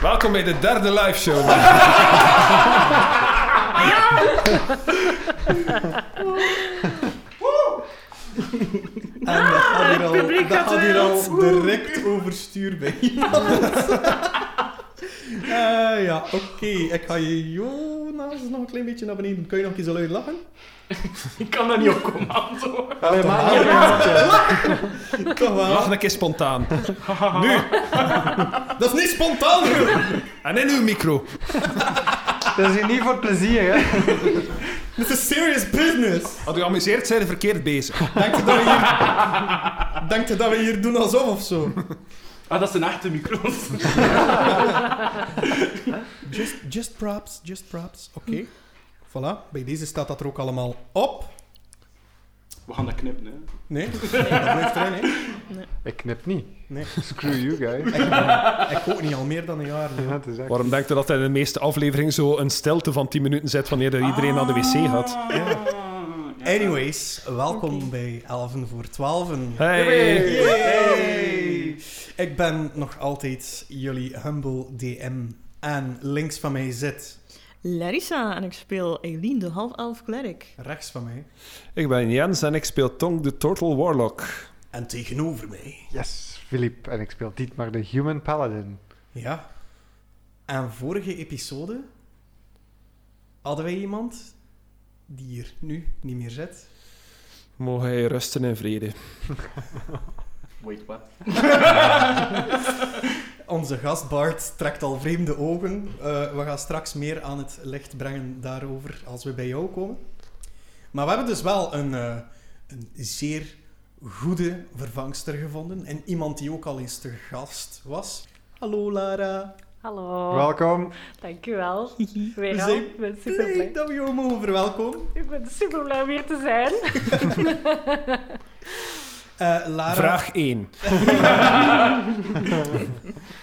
Welkom bij de derde live show. En dat had hier al, Ah, publiek dat gaat had hier wild. al direct overstuur bij iemand. Eh, ja, oké. Ik ga je Jonas nog een klein beetje naar beneden. Kun je nog een keer zo luid lachen? Ik kan daar niet op commando. Allee, maar wel. eh, niet uit, Toch wel? Lach een keer spontaan. Nu, Dat is niet spontaan! en in uw micro. hè. Dat is hier niet voor plezier, hè. Dit is serious business! Had u geamuseerd, zijn we verkeerd bezig. Denk je dat we hier, denk je dat we hier doen alsof of zo? Ah, dat zijn echte micro's. Just, just props, just props. Oké. Voilà, bij deze staat dat er ook allemaal op. We gaan dat knippen, hè. Nee, dat blijft erin, hè? Ik knip niet. Nee. Screw you, guys. Ik ook niet, al meer dan een jaar. Ja, het is echt- Waarom denkt u dat hij in de meeste afleveringen zo een stilte van 10 minuten zet wanneer er iedereen naar de Ah. wc gaat? Ja. Anyways, welkom bij Elven voor Twaalfen. Hey. Yay! Ik ben nog altijd jullie humble DM. En links van mij zit, Larissa en ik speel Eileen, de half-elf cleric. rechts van mij, Ik ben Jens en ik speel Tong de Turtle Warlock. en tegenover mij. Yes, Filip. En ik speel Dietmar de Human Paladin. Ja. En vorige episode hadden wij iemand die hier nu niet meer zit. Mogen hij rusten in vrede. Wait, what? Onze gast Bart trekt al vreemde ogen. Eh, we gaan straks meer aan het licht brengen daarover als we bij jou komen. Maar we hebben dus wel een, eh, een zeer goede vervangster gevonden. En iemand die ook al eens te gast was. Hallo Lara. Oh. Hallo. Welkom. Dankjewel. We Weer al. zijn Ik ben super blij blij. dat we jou mogen verwelkomen. Ik ben super blij om hier te zijn. Eh, Lara, Vraag 1.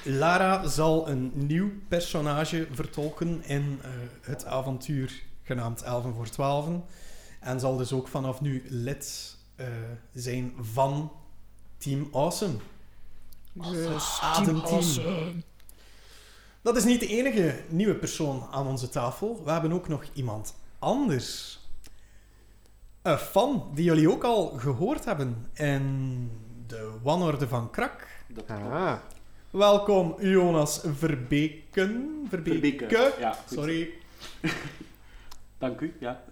Lara zal een nieuw personage vertolken in eh, het avontuur genaamd Elven voor Twaalfen. En zal dus ook vanaf nu lid eh, zijn van Team Awesome. Dus Ademteam. Dat is niet de enige nieuwe persoon aan onze tafel. We hebben ook nog iemand anders. Een fan die jullie ook al gehoord hebben in de wanorde van Krak. Dat Ah, Welkom Jonas Verbeken. Verbeke. Verbeke, ja, goed. Sorry. Dank u, ja.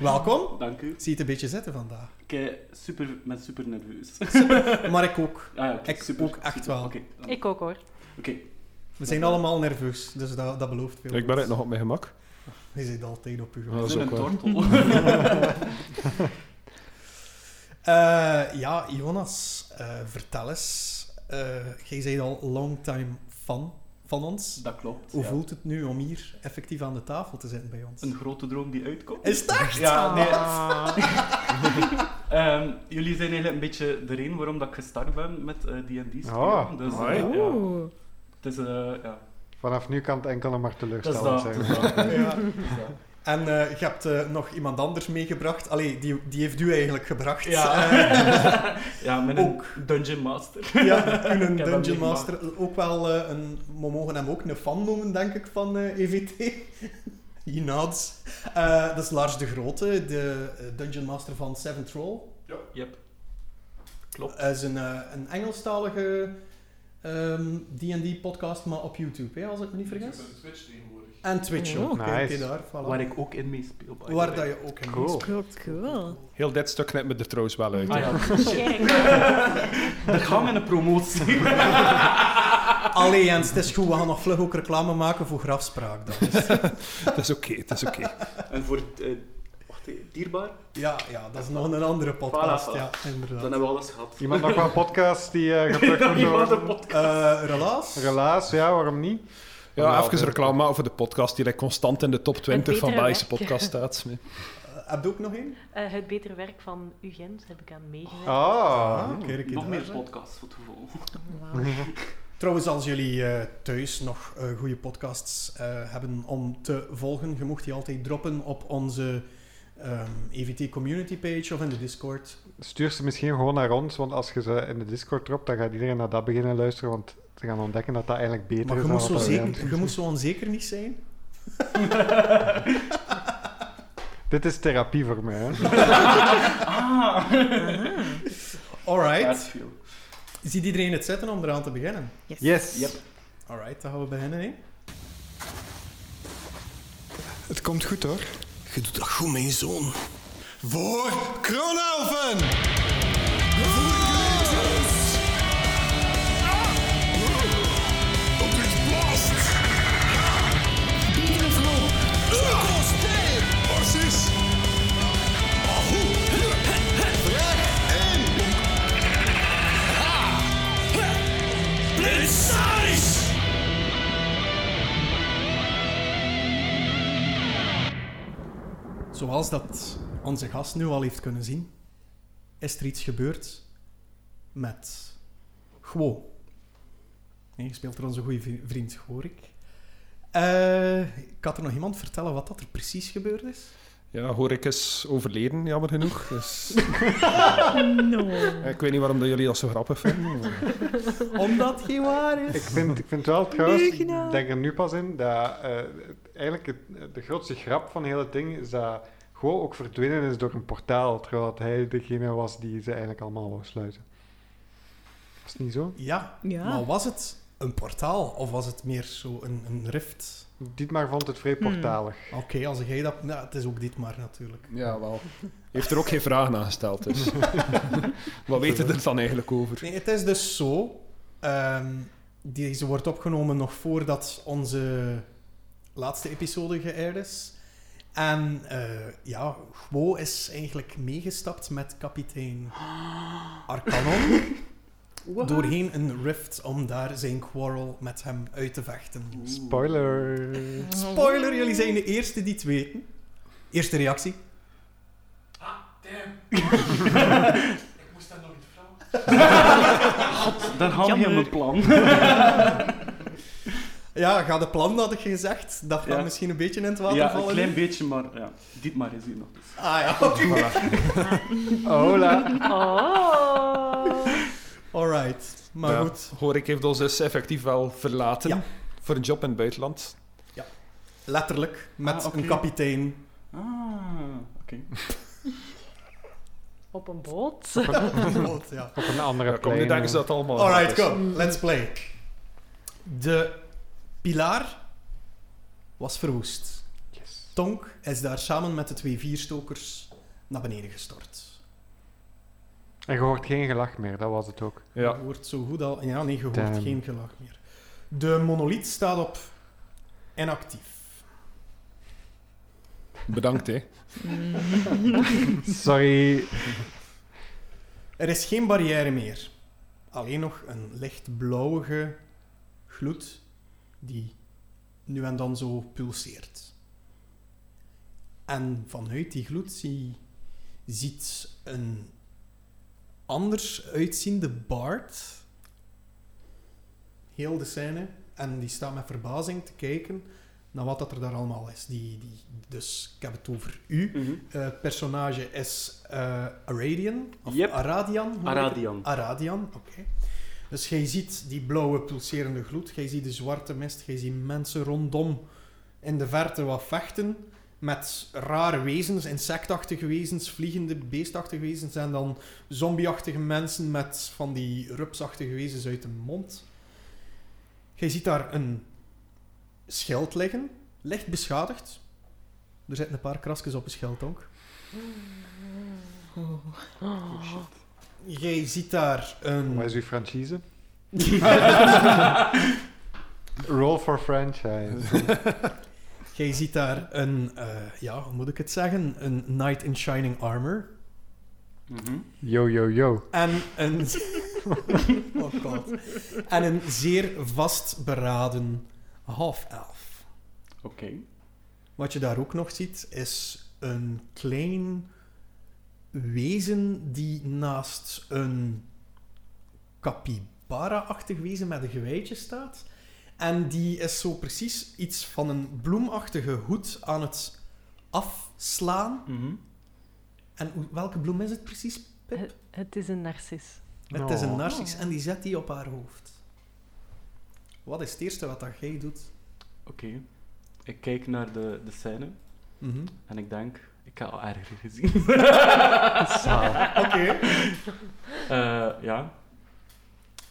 Welkom. Dank u. Ik zie het een beetje zitten vandaag. Ik eh, super, ben super nerveus. Maar ik ook. Ah, ja, oké, Ik ook echt wel. Oké, dan- Ik ook hoor. oké. We zijn allemaal nerveus, dus dat, dat belooft veel. Ik ben het nog op mijn gemak. Je zit altijd op je gemak. Ja, dat We is zijn een ook waar. tortel. Eh, ja, Jonas, eh, vertel eens. Eh, jij bent al longtime fan van ons. Dat klopt. Hoe ja. voelt het nu om hier effectief aan de tafel te zitten bij ons? Een grote droom die uitkomt. Is dat? Ja, nee. Ah. ehm, jullie zijn eigenlijk een beetje de reden waarom dat ik gestart ben met eh, D&D. Oh, dus, eh, mooi. ja. Oeh. Het is, eh, ja. Vanaf nu kan het enkel nog maar Het is teleurstellend dat. Het zijn. is dat. Ja. Het is dat. En eh, je hebt eh, nog iemand anders meegebracht. Allee, die, die heeft u eigenlijk gebracht. Ja. Eh, ja, met een Dungeon Master. Ja, en een Ik heb dat Dungeon meegemaakt. Master. Ook wel eh, een... We mogen hem ook een fan noemen, denk ik, van eh, EVT. He nods. Eh, dat is Lars de Grote, de eh, Dungeon Master van Seventh Roll. Ja, yep. Klopt. Hij is een, eh, een Engelstalige ehm, D&D-podcast, maar op YouTube, hè, als ik me niet vergis. En Twitch ook. Oh. Oké, oké, Nice. daar, voilà. Waar ik ook in mee speel. by the Waar way. dat je ook in Cool. meespeelt. Cool, cool. Heel dit stuk knipt me er trouwens wel uit. Ah ja, Sharing. er gaan we in een promotie. Allee Jens, het is goed, we gaan nog vlug ook reclame maken voor grafspraak dan. Het is oké, het is oké. En voor het, eh, wacht, eh, dierbaar, Ja, ja, dat is nog een andere podcast, Voilà, voilà. ja, inderdaad. dan hebben we alles gehad. Iemand nog wel podcasts die eh geplukt Dan moeten iemand worden? een podcast. Eh, relaas? Relaas, ja, waarom niet? Ja, even reclame maken voor de podcast die like, constant in de top 20 van betere Belgische werk. podcast staat. Nee. Eh, heb je ook nog één? Eh, het betere werk van UGent heb ik aan meegewerkt. Ah, Ah, kijk, Nog daar, meer hè. podcasts voor het gevoel. Trouwens, als jullie eh, thuis nog eh, goede podcasts eh, hebben om te volgen, je mocht die altijd droppen op onze ehm, EVT community page of in de Discord. Stuur ze misschien gewoon naar ons, want als je ze in de Discord dropt, dan gaat iedereen naar dat beginnen luisteren, want Ze gaan ontdekken dat dat eigenlijk beter Maar is je dan moest, wat zo dat wij zeker, doen. je moest zo onzeker niet zijn. Dit is therapie voor mij. Hè? Ah, Alright. that's veel. Ziet iedereen het zitten om eraan te beginnen? Yes. Yes. Yep. Alright, dan gaan we beginnen. Hè. Het komt goed hoor. Je doet dat goed, mijn zoon. Voor Kronelven! Op het blast! Precies! Ahoe! Vraag één. Ha! He! Blitzaris! Zoals dat onze gast nu al heeft kunnen zien, is er iets gebeurd met Gwo. Nee, je speelt er onze goede vri- vriend Gorik. Eh ik had er nog iemand vertellen wat dat er precies gebeurd is. Ja, Horik is overleden, jammer genoeg. Dus, No. eh, ik weet niet waarom dat jullie dat zo grappig vinden. maar- Omdat geen waar is. Ik vind, ik vind wel trouwens, Leuk ik gedaan. denk er nu pas in, dat eh, eigenlijk het- de grootste grap van het hele ding is dat gewoon ook verdwenen is door een portaal, terwijl dat hij degene was die ze eigenlijk allemaal wou sluiten. Is het niet zo? Ja, Ja. maar was het een portaal of was het meer zo een, een rift? Dietmar vond het vrij portalig. Oké, als jij dat... Nou, het is ook dit maar natuurlijk. Ja, wel. Heeft er ook geen vragen aan gesteld, dus. Wat weten er dan eigenlijk over? Nee, het is dus zo. ehm, deze wordt opgenomen nog voordat onze laatste episode geëerd is. En eh, ja, Gwo is eigenlijk meegestapt met kapitein Arcanon. Doorheen een rift om daar zijn quarrel met hem uit te vechten. Spoiler! Spoiler, jullie zijn de eerste die het weten. Eerste reactie. Dan hadden we Jammer. een plan. Ja, ga de plan dat ik gezegd. Dat gaat Ja. misschien een beetje in het water Ja, een vallen. klein nu. beetje, maar ja. Dietmar is hier nog. dus. Ah ja, oké. Hola! Oh. Alright. Maar Ja, goed. Horik heeft ons dus effectief wel verlaten. Ja. Voor een job in het buitenland. Letterlijk, met Ah, oké. een kapitein. Ah, oké. Op een boot. Goed, ja. Op een andere eh. Ja, kom, nu plane. denken ze Oh, dat allemaal. Alright, is. kom, let's play. De pilaar was verwoest. Tonk is daar samen met de twee vierstokers naar beneden gestort. En je hoort geen gelach meer, dat was het ook. Ja. Je hoort zo goed al... Ja, nee, je hoort Damn. geen gelach meer. De monolith staat op inactief. Bedankt, hè. Sorry, Er is geen barrière meer. Alleen nog een lichtblauwige gloed die nu en dan zo pulseert. En vanuit die gloed zie, ziet een anders uitziende Bart heel de scène en die staat met verbazing te kijken naar wat dat er daar allemaal is. Die, die, dus ik heb het over u. Mhm. Eh, personage is eh Aradian. Of Yep. Aradian. hoor ik het? Aradian. Aradian, oké. Dus jij ziet die blauwe pulserende gloed, jij ziet de zwarte mist, jij ziet mensen rondom in de verte wat vechten met rare wezens, insectachtige wezens, vliegende beestachtige wezens en dan zombieachtige mensen met van die rupsachtige wezens uit de mond. Jij ziet daar een schild liggen, licht beschadigd. Er zitten een paar krasjes op een scheldtonk. Oh. Jij ziet daar een... wat is uw franchise? Roll for franchise. Jij ziet daar een, eh, ja, hoe moet ik het zeggen? Een knight in shining armor. Mhm. Yo, yo, yo. En een... oh god. En een zeer vastberaden half-elf. Oké. Wat je daar ook nog ziet, is een klein wezen die naast een capybara-achtig wezen met een gewijtje staat. En die is zo precies iets van een bloemachtige hoed aan het afslaan. Mhm. En hoe- welke bloem is het precies, Pip? Het, het is een narcis. Het is een Oh. narcis en die zet die op haar hoofd. Wat is het eerste wat dat jij doet? Oké. Ik kijk naar de, de scène en ik denk, ik heb al erger gezien. Oké. Eh, ja.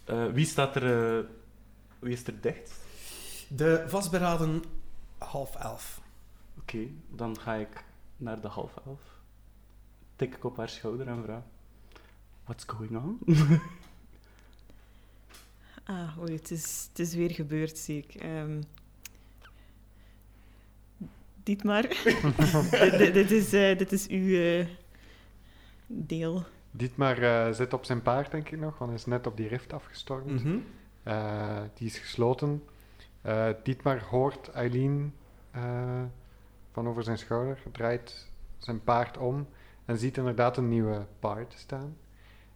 Eh, wie staat er... eh, wie is er dicht? De vastberaden half elf. Oké, dan ga ik naar de half elf. Tik ik op haar schouder en vraag... What's going on? Ah, oei, het is, het is weer gebeurd, zie ik. Ehm dit maar. dit, dit- dit is, eh, dit is uw eh, deel. Dietmar eh, zit op zijn paard, denk ik nog, want hij is net op die rift afgestormd. Mhm. Eh, die is gesloten. Eh, Dietmar hoort Eileen eh, van over zijn schouder, draait zijn paard om en ziet inderdaad een nieuwe paard staan.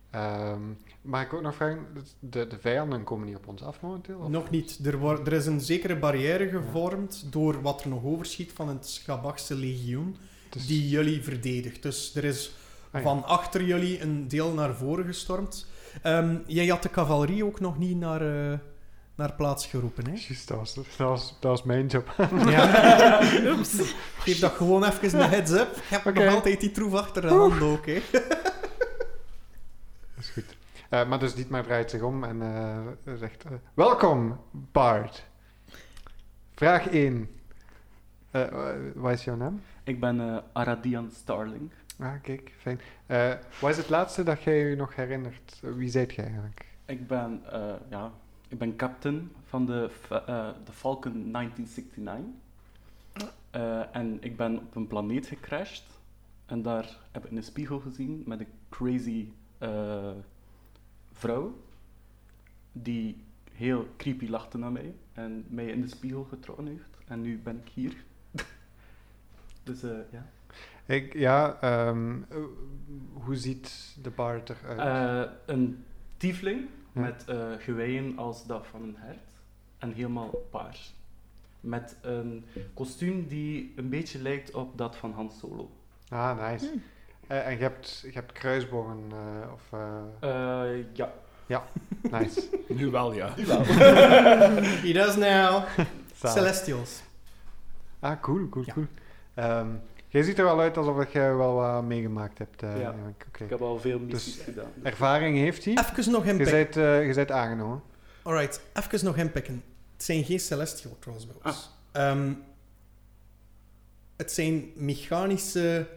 Ehm mag ik ook nog vragen, dus de, de vijanden komen niet op ons af momenteel? of- Nog niet. Er, wordt, er is een zekere barrière gevormd door wat er nog overschiet van het Schabachse legioen, Dus- die jullie verdedigt. Dus er is Ah, ja. van achter jullie een deel naar voren gestormd. Ehm, jij had de cavalerie ook nog niet naar, eh, naar plaats geroepen, hè? Juist, dat was, dat, was, dat was mijn job. Geef dat gewoon even een heads up. Je hebt Oké. nog altijd die troef achter de hand ook, hè? Dat is goed. Eh, maar dus Dietmar draait zich om en eh, zegt... eh, Welkom, Bart. Vraag 1. wat is jouw naam? ik ben eh, Aradian Starling. Ah, kijk, fijn. Eh, wat is het laatste dat jij je nog herinnert? Eh, Wie zijt jij eigenlijk? Ik ben, eh, ja, ik ben captain van de, fa- eh, de Falcon 1969. Eh, en ik ben op een planeet gecrashed. En daar heb ik een spiegel gezien met een crazy eh, vrouw. Die heel creepy lachte naar mij. En mij in de spiegel getrokken heeft. En nu ben ik hier. dus eh, ja. Ik, ja, ehm, eh, hoe ziet de Bart eruit? Eh, een tiefling Ja. met eh geweien als dat van een hert en helemaal paars. Met een kostuum die een beetje lijkt op dat van Han Solo. ah, nice. Eh, en je hebt, je hebt kruisbogen, eh, of... eh, Eh, ja. nice. Nu wel, ja. He does now. Zalig. nou Celestials. Ah, cool, cool, Ja. cool. Ehm, jij ziet er wel uit alsof jij wel wat meegemaakt hebt. eh, Ja. Erik. Oké. Ik heb al veel Dus- missies gedaan. dus- Ervaring heeft hij. Even nog Je inpikken. bent, eh, je bent aangenomen. Alright, even nog inpikken. Het zijn geen celestial crossbows. Ah. Ehm, het zijn mechanische,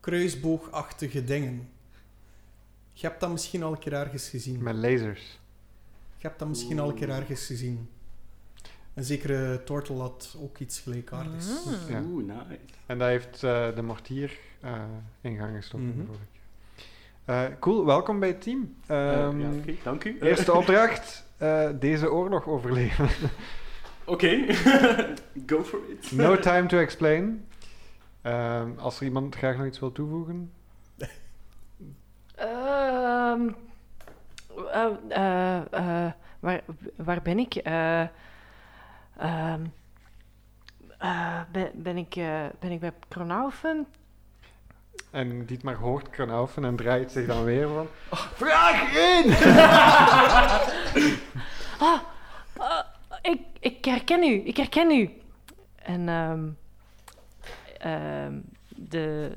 kruisboogachtige dingen. Je hebt dat misschien al een keer ergens gezien. Met lasers. Je hebt dat misschien al een keer ergens gezien. Een zekere Tortel had ook iets gelijkaardigs. Ah. Ja. Oeh, nice. En daar heeft eh, de mortier eh, in gang gestoken. Mhm. de vorige keer. Eh, cool, welkom bij het team. Eh, Ehm, ja, oké, dank u. Eerste opdracht, eh, deze oorlog overleven. Oké, go for it. No time to explain. Ehm, als er iemand graag nog iets wil toevoegen. Ehm, eh, eh, eh, waar, waar ben ik? Eh, ehm, eh, ben, ben, ik eh, ben ik bij Kronaufen? En Dietmar hoort Kronaufen en draait zich dan weer van... Oh. vraag in! Ah, ah, ik, ik herken u, ik herken u. En ehm, ehm, de,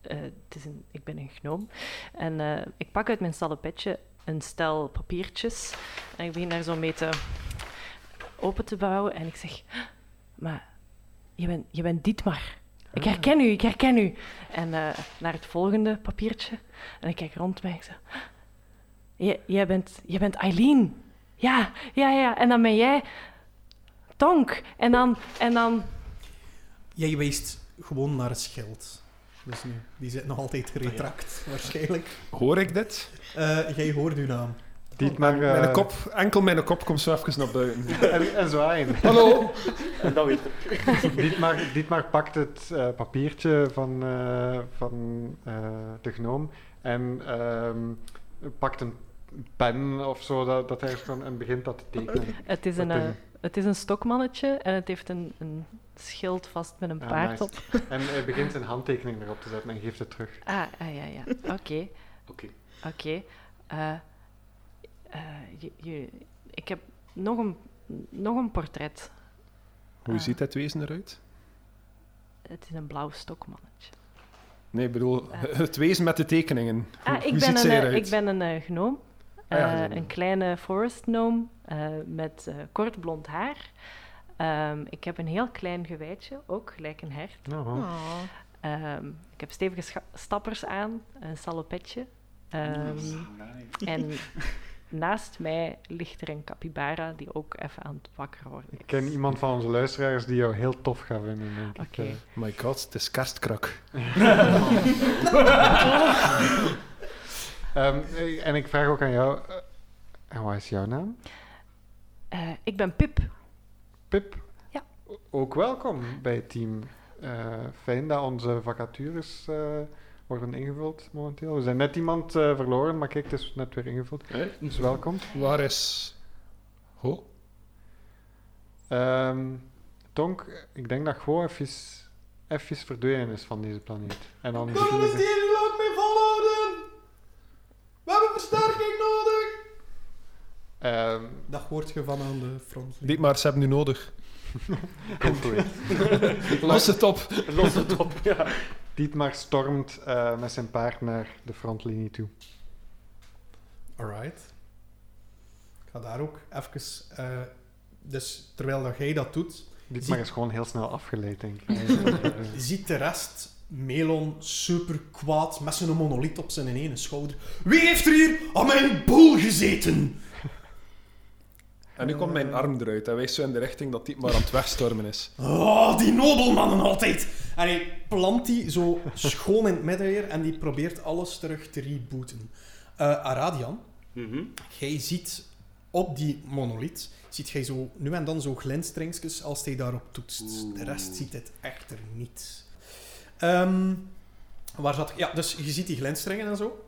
eh, het is een, ik ben een gnoom. En eh, ik pak uit mijn stallepetje een stel papiertjes. En ik begin daar zo mee te open te bouwen. En ik zeg, maar je bent, je bent Dietmar. Ik herken u, ik herken u. En eh, naar het volgende papiertje. En ik kijk rond mij en ik zeg, "J- jij bent, jij bent Eileen. Ja, ja, ja. En dan ben jij Tonk. En dan, en dan... Jij wijst gewoon naar een schild. Dus nu, die zit nog altijd geretract, waarschijnlijk. Hoor ik dit? Eh, jij hoort uw naam. Dietmar... eh, Mijn kop, enkel mijn kop komt zo even naar buiten. en, en zwaaien. Hallo! En dan weer terug. Dietmar, Dietmar pakt het eh, papiertje van, eh, van eh, de gnoom en ehm, pakt een pen of zo dat, dat hij is van, en begint dat te tekenen. Het is een, Wat eh, een- het is een stokmannetje en het heeft een, een schild vast met een Ah, paard nice. op. En hij begint zijn handtekening erop te zetten en geeft het terug. Ah, ah ja, ja. Oké, Oké. oké. Eh, eh, je- je- ik heb nog een nog een portret. Hoe Ah. ziet dat wezen eruit? Het is een blauw stokmannetje. Nee, ik bedoel, het wezen met de tekeningen. Hoe, Ah, ik, hoe ben ziet een, zij eh, eruit? ik ben een eh, gnoom. Ah ja, Eh, zo. een kleine forest gnome eh, met eh, kort blond haar. Ehm, ik heb een heel klein gewijtje, ook gelijk een hert. Nou, Oh. Ehm, ik heb stevige scha- stappers aan, een salopetje. Ehm, En naast mij ligt er een capybara die ook even aan het wakker worden is. ik ken iemand van onze luisteraars die jou heel tof gaat vinden, denk ik. Oké. Eh, My god, het is kerstkrak. ehm, eh, en ik vraag ook aan jou, eh, en wat is jouw naam? Eh, ik ben Pip. Pip. Ja. O- Ook welkom bij het team. Eh, fijn dat onze vacatures eh, worden ingevuld momenteel. We zijn net iemand eh, verloren, maar kijk, het is net weer ingevuld. Dus welkom. Waar is... Ho? Ehm, Tonk, ik denk dat gewoon even, even verdwenen is van deze planeet. En dan Waarom is die hier ook mee volhouden? We hebben versterking nodig! Ehm, Dat hoort je van aan de front. Liet maar, ze hebben nu nodig. kom voor je. Los het op. Los het op, ja. Dietmar stormt eh, met zijn paard naar de frontlinie toe. Alright. Ik ga daar ook even... eh, dus terwijl dat jij dat doet, Dietmar Zie- is gewoon heel snel afgeleid, denk ik. ziet de rest Melon super kwaad met zijn monolith op zijn ene schouder. Wie heeft er hier aan mijn boel gezeten? En nu komt mijn arm eruit. Hij wijst zo in de richting dat die maar aan het wegstormen is. Oh, die nobelmannen altijd! En hij plant die zo schoon in het midden weer en die probeert alles terug te rebooten. Eh, Aradian, Mhm. jij ziet op die monolith, ziet jij zo nu en dan zo glinsteringjes als hij daarop toetst. De rest ziet het echter niet. Ehm, waar zat ik? Ja, dus je ziet die glinsteringen en zo.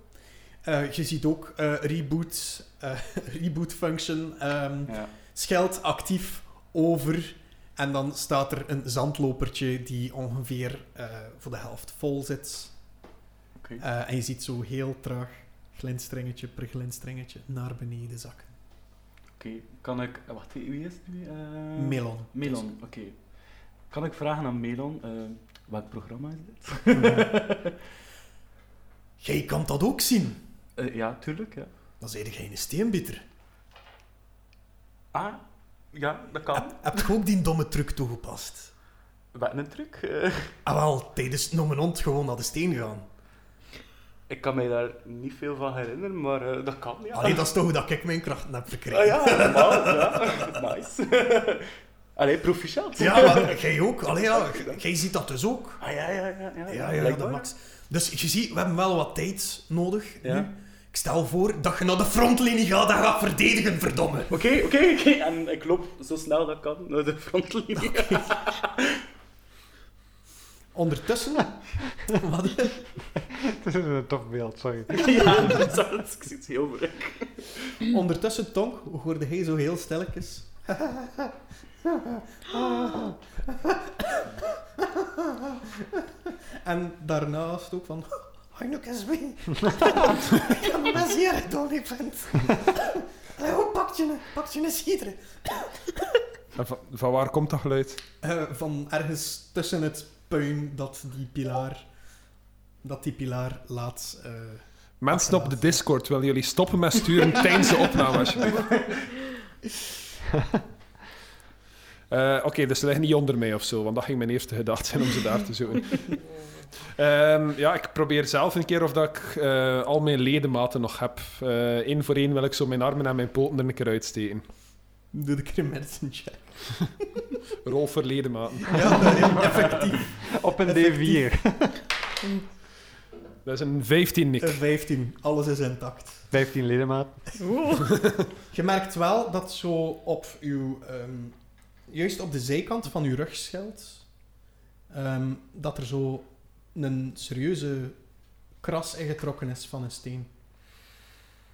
Eh, je ziet ook eh, reboot, eh, reboot function. ehm, Ja. scheld actief over. En dan staat er een zandlopertje die ongeveer eh, voor de helft vol zit. Oké. Eh, en je ziet zo heel traag glinsteringetje per glinsteringetje naar beneden zakken. Oké, kan ik... eh, Wacht, wie is het nu? Eh, Melon. Melon, oké. Kan ik vragen aan Melon, eh, welk programma is dit? Jij kan dat ook zien. Eh, ja, tuurlijk, ja. Dan zijn er geen steenbieter. Ah, ja, dat kan. Heb je ook die domme truc toegepast? Wat een truc. eh. Ah wel, tijdens Nomen Hond gewoon naar de steen gaan. ik kan mij daar niet veel van herinneren, maar eh, dat kan, ja. Allee, dat is toch hoe dat ik mijn krachten heb Ah verkregen. ja, helemaal, ja. Nice. Allee, proficiat. Ja, maar jij ook. Allee, ja, jij ziet dat dus ook. Ah ja, ja, ja. Ja, Ja, ja, blijkbaar. dat max. Dus je ziet, we hebben wel wat tijd nodig Ja. nu. Ik stel voor dat je naar de frontlinie gaat en gaat verdedigen, verdomme. Oké, oké, oké. En ik loop zo snel dat kan naar de frontlinie. Ondertussen... wat? Het is een tof beeld, sorry. ja, dat is- dat is ik zie het heel moeilijk. Ondertussen, Tonk, hoorde hij zo heel stilletjes. en daarnaast ook van... Hang nog eens mee. Ik heb mijn best hier gedaan, ik vind. Allee, Hoe pakt je een, pakt je een schieten? En van, van waar komt dat geluid? Eh, van ergens tussen het puin dat die pilaar... Dat die pilaar laat... eh, Mensen op de Discord, willen jullie stoppen met sturen tijdens de opname, alsjeblieft? Eh, Oké, dus ze liggen niet onder mij of zo, want dat ging mijn eerste gedachte zijn om ze daar te zoeken. Ehm, ja, ik probeer zelf een keer of dat ik eh, al mijn ledematen nog heb. Eén voor één wil ik zo mijn armen en mijn poten er een keer uitsteken. Doe de keer een medicine check. Rol voor ledematen. Ja, effectief. Op een D4. Dat is een 15, Een Nick. 15. eh, Alles is intact. 15 ledemaat. Je merkt wel dat zo op uw... ehm, juist op de zijkant van uw rugscheld... ehm, dat er zo een serieuze kras ingetrokken is van een steen.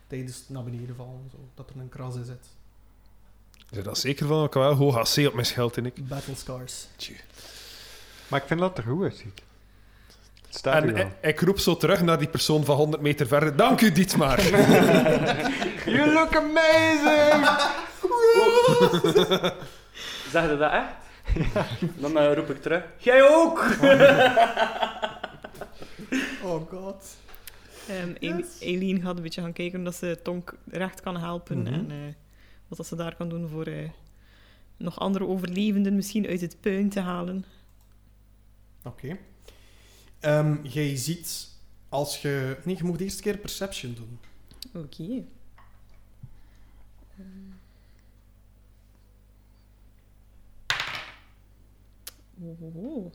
Tijdens het naar beneden vallen. Zo, dat er een kras in zit. Zijn dat zeker van? Ik heb wel hoog AC op mijn scheld, Nick. Battle scars. Maar ik vind dat het er goed uitziet. Het staat En u wel. ik, ik roep zo terug naar die persoon van 100 meter verder. Dank u, Dietmar. You look amazing! Zeg je dat echt? Dan eh, roep ik terug. Jij ook! Oh god. Ehm, Eil- Eileen gaat een beetje gaan kijken omdat ze Tonk recht kan helpen Mhm. en eh, wat dat ze daar kan doen voor eh, nog andere overlevenden misschien uit het puin te halen. Oké. Ehm, jij ziet als je. Nee, je moet eerst een keer perception doen. Oké. Ehm. Oh, oh, oh.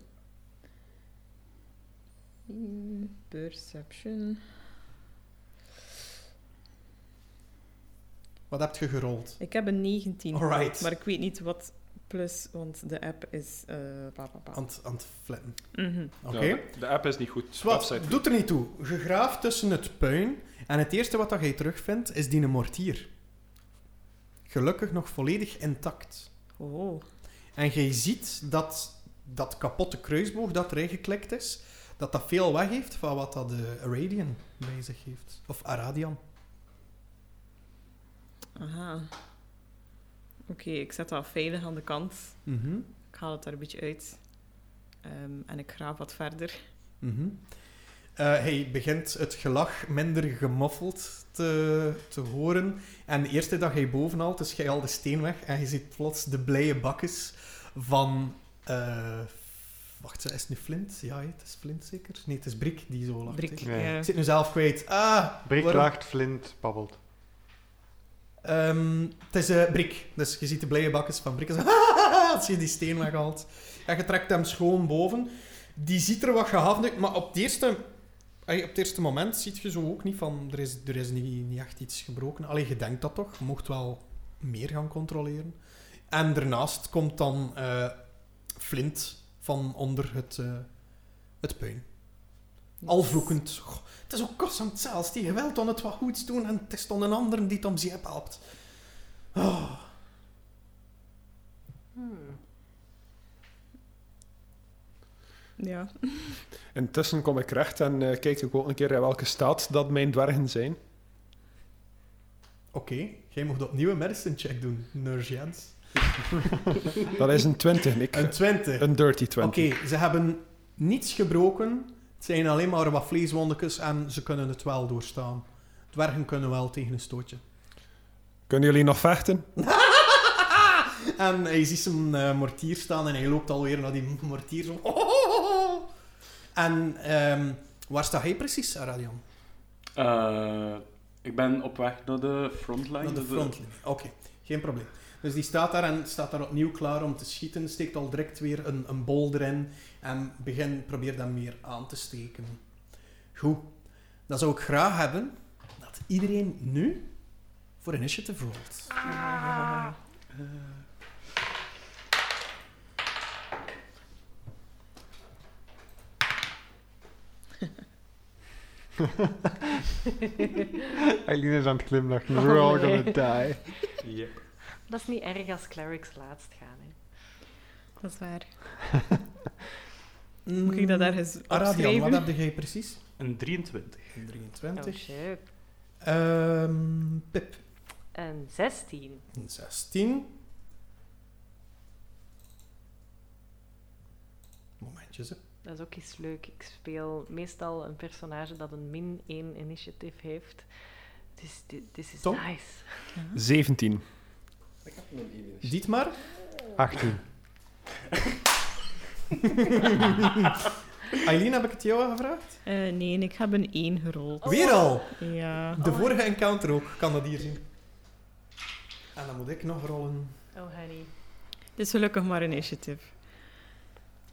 Hmm, Perception. Wat heb je gerold? Ik heb een 19. Alright. Maar ik weet niet wat plus, want de app is. eh pa, pa, pa. Aan het- aan het flatten. Mhm. Oké. Dus De, de app is niet goed. Wat? Website. Doet er niet toe. Je graaft tussen het puin en het eerste wat dat jij terugvindt is die mortier. Gelukkig nog volledig intact. Oh. En jij ziet dat dat kapotte kruisboog dat erin geklikt is, dat dat veel weg heeft van wat dat de Aradian bij zich heeft. Of Aradian. Aha. Oké, ik zet dat veilig aan de kant. Mhm. Ik haal het daar een beetje uit. Ehm, en ik graaf wat verder. Mhm. Eh, hij begint het gelach minder gemoffeld te, te horen. En de eerste dag hij boven haalt, is hij dus al de steen weg. En je ziet plots de blije bakjes van... eh, wacht, is het nu Flint? Ja, hè, het is Flint zeker? Nee, het is Brik die zo lacht. Brik. hè. Nee. ja. Ik zit nu zelf kwijt. Ah, Brik waarom- laagt, Flint babbelt. Ehm, het is eh, Brik. Dus je ziet de blije bakjes van Brik. Als je die steen weghaalt. En je trekt hem schoon boven. Die ziet er wat gehavend uit. Maar op het eerste, ey, op het eerste moment ziet je zo ook niet van... Er is, er is niet, niet echt iets gebroken. Allee, je denkt dat toch. Je mocht wel meer gaan controleren. En daarnaast komt dan eh, Flint van onder het, eh, het puin. Al vloekend. Goh, het is ook kostend zelfs. Die geweld om het wat goeds doen en het is dan een ander die het om zeep helpt. Oh, Ja. Intussen kom ik recht en eh, kijk ik ook een keer in welke staat dat mijn dwergen zijn. Oké, jij mocht opnieuw een medicine check doen, Nurse Jens. Dat is een 20, Nick. Een Een, 20. dirty 20. Oké, ze hebben niets gebroken. Het zijn alleen maar wat vleeswondjes en ze kunnen het wel doorstaan. Dwergen kunnen wel tegen een stootje. Kunnen jullie nog vechten? En hij ziet zijn eh, mortier staan en hij loopt alweer naar die mortier zo. En ehm, waar staat hij precies, Radian? Eh, ik ben op weg naar de frontline. Naar de dus, eh, frontline. Oké, geen probleem. Dus die staat daar en staat daar opnieuw klaar om te schieten. Steekt al direct weer een, een bol erin. En begin, probeert hem meer aan te steken. Goed. Dan zou ik graag hebben dat iedereen nu voor initiative rolt. Eileen is aan het glimlachen. We're all gonna die. Dat is niet erg als clerics laatst gaan. Hè. Dat is waar. Moet ik dat ergens Mm, Aradian, wat opschrijven? heb jij precies? Een 23. Een Oh 23. shit. Ehm, Pip, Een 16. een 16. Momentjes, hè. Dat is ook iets leuk. Ik speel meestal een personage dat een min 1 initiatief heeft. Dus dit dit is Tom? nice. 17. Dietmar? 18. Aileen, heb ik het jou al gevraagd? Eh, nee, ik heb een 1 gerold. Weer al! Oh. Ja. De vorige encounter ook, kan dat hier zien. En dan moet ik nog rollen. Oh honey. Het is gelukkig maar een initiative.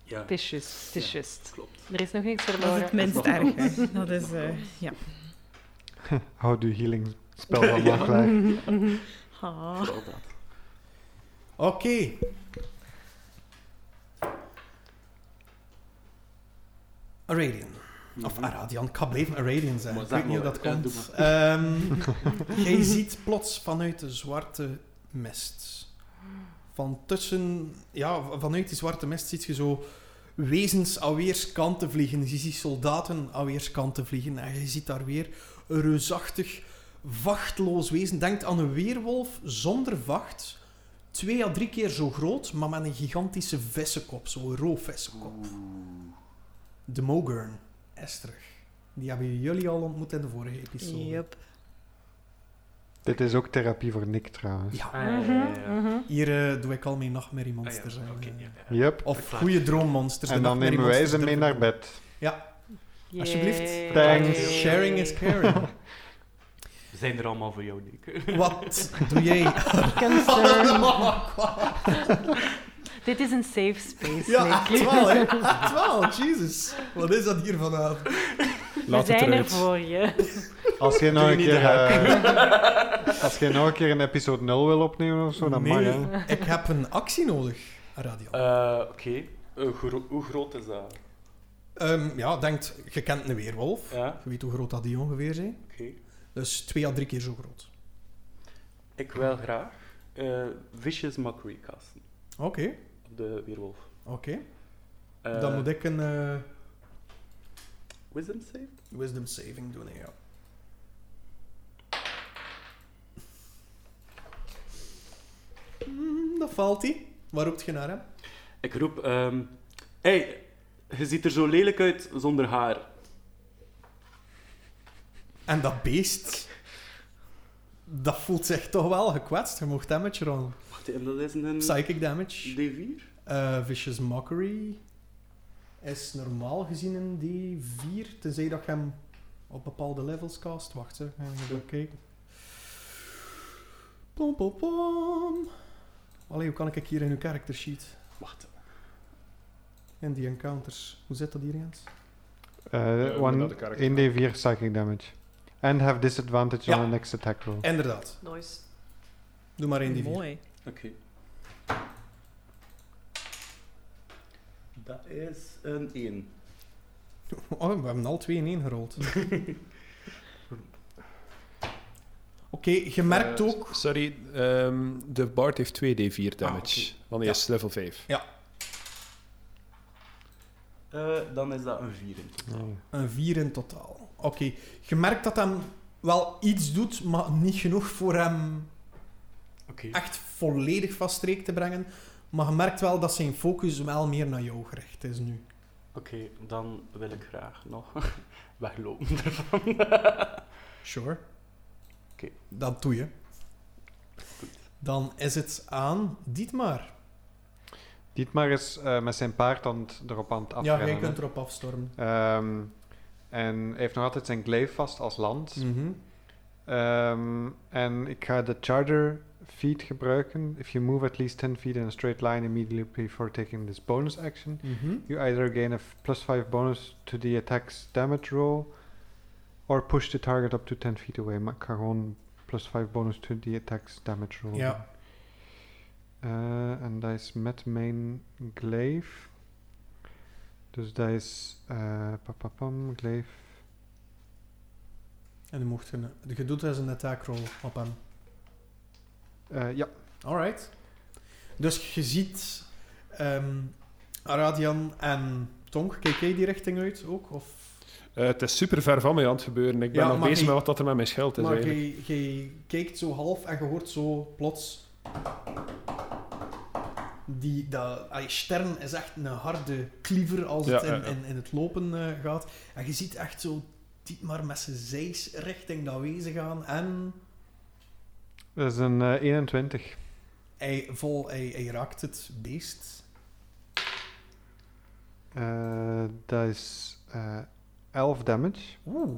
Ja, Het is juist. Het is Ja. juist. klopt. Er is nog niks Dat is het verloren. minst erg. Dat is, eh, ja. Houd uw healing spel dan maar klaar. Ha. Wel dat. Oké. Aradian. Of Mhm. Aradian. Ik ga blijven Aradian zijn. Maar Ik zeg weet niet hoe maar, dat ja, komt. doe Ehm jij ziet plots vanuit de zwarte mist. Van tussen... Ja, vanuit die zwarte mist ziet je zo wezens aan weerskanten vliegen. Je ziet soldaten aan weerskanten vliegen. En je ziet daar weer een reusachtig, vachtloos wezen. Denkt aan een weerwolf zonder vacht. Twee à drie keer zo groot, maar met een gigantische vissenkop. Zo'n roofvissenkop. De Mogurn is terug. Die hebben jullie al ontmoet in de vorige episode. Yep. Dit is ook therapie voor Nick trouwens. Ja, Ah, ja, Mhm, ja, ja, ja. hier eh, doe ik al mijn Ah, ja, nachtmerriemonsters. oké, eh. ja, ja. Yep. Of goede droommonsters. de En dan nemen wij ze nachtmerriemonsters mee er- naar bed. Alsjeblieft. Thanks. Yay. Sharing is caring. We zijn er allemaal voor jou, Nick. Wat doe jij? Concern. Dit is een safe space. ja, Nick. echt wel, hè? Echt wel, Jesus. Wat is dat hier vanavond? We Laat het zijn er eruit. voor je. Als je nog een niet keer, eruit. eh, als je nog een keer een episode 0 wil opnemen of zo, dan mag Nee, je. ik heb een actie nodig, Radio. Eh, Oké. Eh, gro- hoe groot is dat? Ehm, ja, denkt, je kent een weerwolf. Ja, Je weet hoe groot dat die ongeveer zijn. oké. Dus twee à drie keer zo groot. Ik wil graag eh Vicious Mockery casten Oké, op de weerwolf. oké. Eh, Dan moet ik een eh, Wisdom save? wisdom saving doen, hè, ja. Mm, dat valt hij. Waar roept je naar hem? Ik roep... ehm hey, je ziet er zo lelijk uit zonder haar. En dat beest, dat voelt zich toch wel gekwetst. Je mocht damage rollen. Wacht, en dat is een Psychic damage. D4? Eh, vicious Mockery is normaal gezien een D4, tenzij dat je hem op bepaalde levels cast. Wacht, hè. Ik moet even kijken. Pom, pom, pom. Allee, hoe kan ik hier in uw character sheet? Wacht. In die encounters. Hoe zit dat hier eens? Eh, Ja, one, inderdaad, de 1d4 psychic damage. And have disadvantage Ja. on the next attack roll. Inderdaad. Nice. Doe maar één D4. Mooi. Oké. Dat is een 1. Oh, we hebben al twee in één gerold. Oké, je merkt Eh, ook... Sorry, ehm, de Bard heeft 2d4 damage. Ah, Want hij is level 5. Eh, dan is dat een 4 in totaal. Nee. Een vier in totaal. Oké. Je merkt dat hem wel iets doet, maar niet genoeg voor hem Oké. echt volledig van streek te brengen. Maar je merkt wel dat zijn focus wel meer naar jou gericht is nu. Oké, dan wil ik graag nog weglopen ervan. Sure. Oké. Dat doe je. Dan is het aan Dietmar. Dietmar is eh, met zijn paard aan het, erop aan het ja, afrennen. jij hè. kunt erop afstormen. Ehm, en hij heeft nog altijd zijn glaive vast als land. Mm. Mhm. Ehm, en ik ga de charger feat gebruiken. If you move at least 10 feet in a straight line immediately before taking this bonus action, Mhm. you either gain a f- plus 5 bonus to the attack's damage roll, or push the target up to 10 feet away. Maar ik ga gewoon plus 5 bonus to the attack's damage roll. Ja. doen. Eh, en dat is met mijn glaive. Dus dat is... eh papapam, glaive. En je, mocht een, je doet dus een attack roll op hem. Eh, ja, Alright. Dus je ziet ehm, Aradian en Tonk. Kijk jij die richting uit ook? Of Eh, het is super ver van mij aan het gebeuren. Ik ben Ja, nog maar bezig die- met wat dat er met mijn schild is. maar eigenlijk. je, je kijkt zo half en je hoort zo plots. Die, dat, allee, Stern is echt een harde kliever als Ja, het in, ja, ja. In, in het lopen eh, gaat. En je ziet echt zo Dietmar met zijn zeis richting dat wezen gaan. En dat is een eh, 21. hij, vol, hij, hij raakt het beest. Eh, dat is eh 11 damage. Oeh.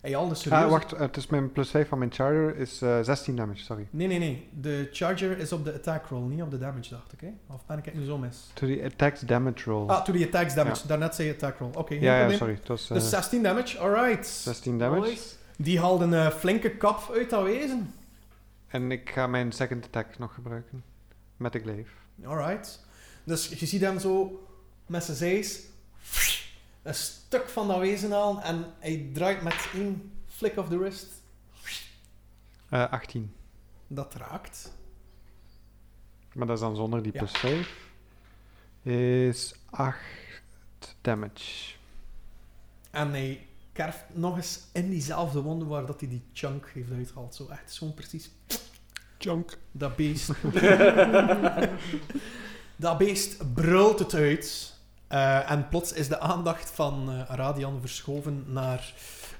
Hij al een serieuze... Ah, wacht, eh, het is mijn plus 5 van mijn charger is eh 16 damage, sorry. Nee, nee, nee. De charger is op de attack roll, niet op de damage, dacht ik. Hè? Of ben ik het nu zo mis? To the attack's damage roll. Ah, to the attack's damage. Daarnet zei je attack roll. Oké, geen ja, ja, probleem. sorry. Het was eh, Dus 16 damage, alright. 16 damage. Die haalt een eh, flinke kap uit dat wezen. En ik ga mijn second attack nog gebruiken. Met de glaive. Alright. Dus je ziet hem zo met zijn zeis een stuk van dat wezen halen en hij draait met één flick of the wrist. Eh, 18. Dat raakt. Maar dat is dan zonder die Ja. plus 5. is 8 damage. En hij kerft nog eens in diezelfde wonde waar dat hij die chunk heeft uitgehaald. Zo echt, zo'n precies. Junk. Dat beest. dat beest brult het uit. Eh, en plots is de aandacht van eh, Radian verschoven naar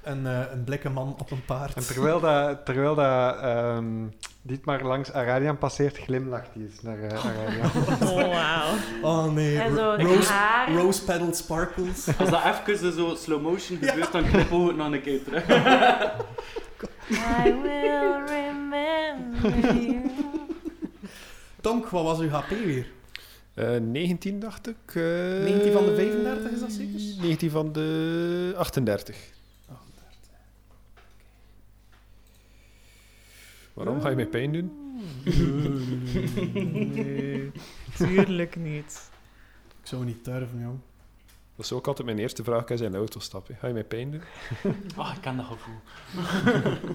een, eh, een blikken man op een paard. En terwijl dat, terwijl dat ehm, Dietmar langs Aradian passeert, glimlacht hij eens naar eh, Aradian. Oh, wauw. Oh nee, En zo ro- het rose, haar. rose petal sparkles. Als dat even zo slow motion gebeurt, dan knippen we het nog een keer terug. I will remember you. Tonk, wat was uw HP weer? Eh, 19 dacht ik. eh, 19 van de 35 is dat zeker? 19 van de 38. Waarom ga je mij pijn doen? Nee, tuurlijk niet. Ik zou niet durven, joh. Dat is ook altijd mijn eerste vraag als je in de auto stapt. hè. Ga je mij pijn doen? Ah, ik ken dat gevoel.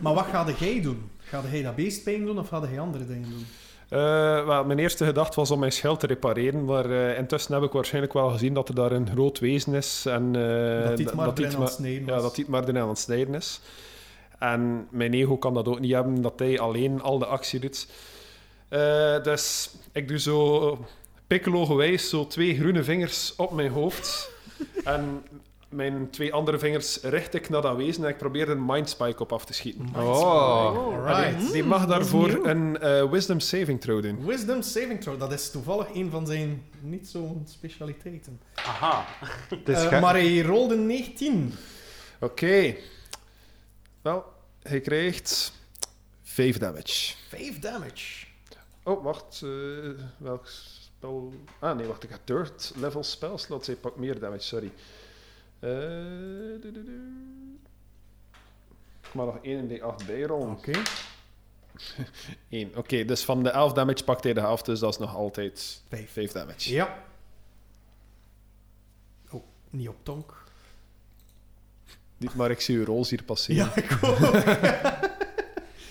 Maar wat gaat jij doen? Gaat jij dat beest pijn doen of gaat jij andere dingen doen? Eh, wel, mijn eerste gedachte was om mijn schild te repareren, maar eh, intussen heb ik waarschijnlijk wel gezien dat er daar een groot wezen is. En, eh, dat dit maar dat dat dit aan maar- het snijden Ja, was. dat hij het maar erin aan het snijden is. En mijn ego kan dat ook niet hebben, dat hij alleen al de actie doet. Eh, dus ik doe zo piccolo-gewijs zo twee groene vingers op mijn hoofd. en mijn twee andere vingers richt ik naar dat wezen en ik probeer een mindspike op af te schieten. Oh, Oh. Alright. En Mm, die- Die mag daarvoor nieuw. een eh, wisdom saving throw doen. Wisdom saving throw, dat is toevallig een van zijn niet zo'n specialiteiten. Aha. het is Eh, ga- maar hij rolde 19. Oké. Wel, hij krijgt 5 damage. 5 damage. Oh, wacht. eh, welk spel? Ah, nee, wacht. Ik heb third level spells. Laat ze pak meer damage, sorry. Eh, du- du- du. Ik mag nog 1 in D8 bijrollen. Oké. 1. Oké, dus van de 11 damage pakt hij de helft, dus dat is nog altijd Vijf. 5 damage. Ja. Oh, niet op tonk. Niet maar ik zie uw rolls hier passeren. Ja, ik ook.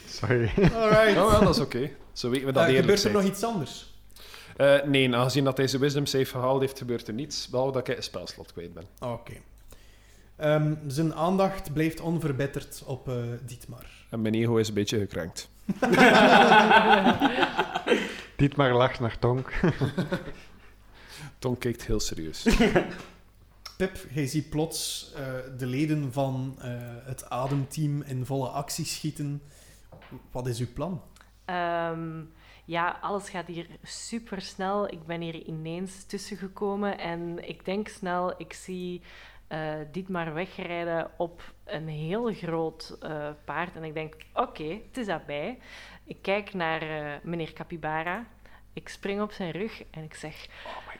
Sorry. Alright. Oh, wel, dat is oké. Zo weten we dat Eh, eerlijk gebeurt er zijn. nog iets anders? Eh, nee, aangezien dat hij zijn wisdom save gehaald heeft, gebeurt er niets. Behalve dat ik een spelslot kwijt ben. Oké. Ehm, zijn aandacht blijft onverbitterd op eh, Dietmar. En mijn ego is een beetje gekrenkt. Dietmar lacht naar Tonk. Tom kijkt heel serieus. Pip, jij ziet plots eh, de leden van eh, het ademteam in volle actie schieten. Wat is uw plan? Ehm, ja, alles gaat hier super snel. Ik ben hier ineens tussengekomen en ik denk snel, ik zie eh Dietmar wegrijden op een heel groot eh, paard. En ik denk, oké, het is daarbij. Ik kijk naar eh, meneer Capybara. Ik spring op zijn rug en ik zeg,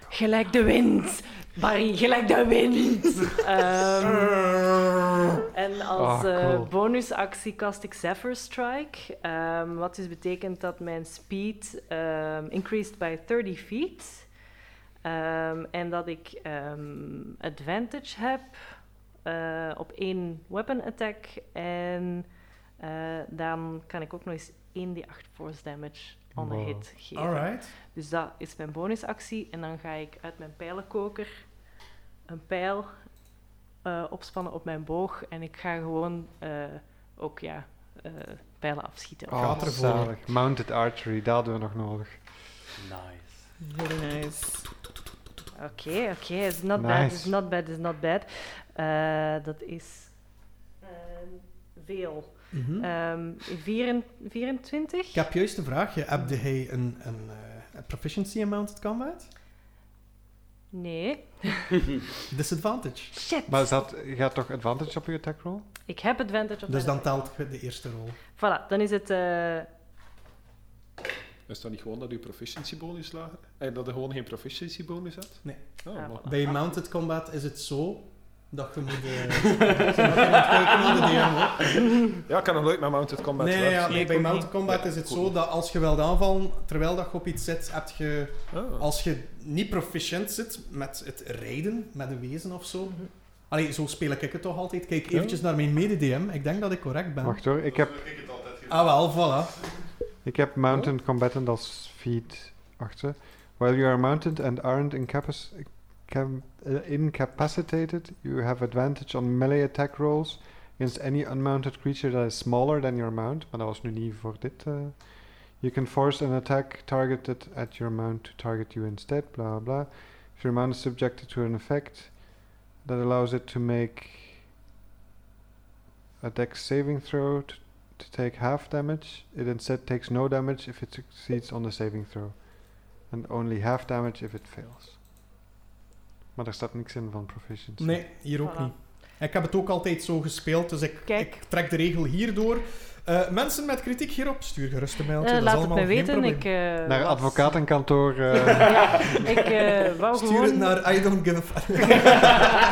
gelijk de wind, Barry, gelijk de wind. Ehm, en als Ah, eh, cool. bonusactie kast ik Zephyr Strike. ehm, wat dus betekent dat mijn speed ehm, increased by 30 feet. Ehm, en dat ik ehm, advantage heb eh, op één weapon attack. En eh, dan kan ik ook nog eens 1d8 force damage on a Wow. hit geven. Alright. Dus dat is mijn bonusactie. En dan ga ik uit mijn pijlenkoker een pijl eh, opspannen op mijn boog. En ik ga gewoon eh, ook ja, eh, pijlen afschieten. Oh, Gaat ervoor. zalig. Mounted archery, dat hadden we nog nodig. Nice. Very nice. Oké, oké. It's not bad, Nice. it's not bad, it's not bad. Eh, dat is eh, veel. Mhm. Ehm, vieren- 24? Ik heb juist een vraag. Je- Heb jij een, een eh, proficiency in mounted combat? Nee. Disadvantage. Shit. Maar zat, gaat toch advantage op je attack roll? Ik heb advantage op Dus dan mijn- telt je de eerste rol. Voilà, dan is het... eh, Is dat niet gewoon dat je proficiency bonus lager... Eh, dat je gewoon geen proficiency bonus had? Nee. Oh, Ah, maar- voilà. Bij mounted combat is het zo dat je moet... eh, je moet kijken naar de DM, hoor. Ja, ik kan nog nooit met mounted combat Nee, werken. ja, nee, Nee, bij ik ook mounted combat Ja, is het ik ook zo niet. dat als je wilt aanvallen, terwijl dat je op iets zit, heb je... Ah. Als je niet proficient zit met het rijden, met een wezen of zo. Allee, zo speel ik het toch altijd. Kijk eventjes naar mijn mede-DM. Ik denk dat ik correct ben. Wacht hoor, ik heb, Ah, wel, voilà. ik heb mounted combatant als feat. Wacht hè. While you are mounted and aren't incapac- cam- uh, incapacitated, you have advantage on melee attack rolls against any unmounted creature that is smaller than your mount. Maar dat was nu niet voor dit. eh. you can force an attack targeted at your mount to target you instead, bla bla bla. If your mount is subjected to an effect that allows it to make a dex saving throw to, to take half damage, it instead takes no damage if it succeeds on the saving throw. And only half damage if it fails. Maar daar staat niks in van proficiency. Nee, hier ook Voilà. niet. Ik heb het ook altijd zo gespeeld, dus ik, Kijk. ik trek de regel hierdoor. Eh, mensen met kritiek hierop, stuur gerust een mailtje. Eh, dat is laat het allemaal mij geen weten. probleem. Ik, eh, Naar was- advocatenkantoor. eh, Ja, ik eh, wou Stuur gewoon... het naar I don't give a fuck.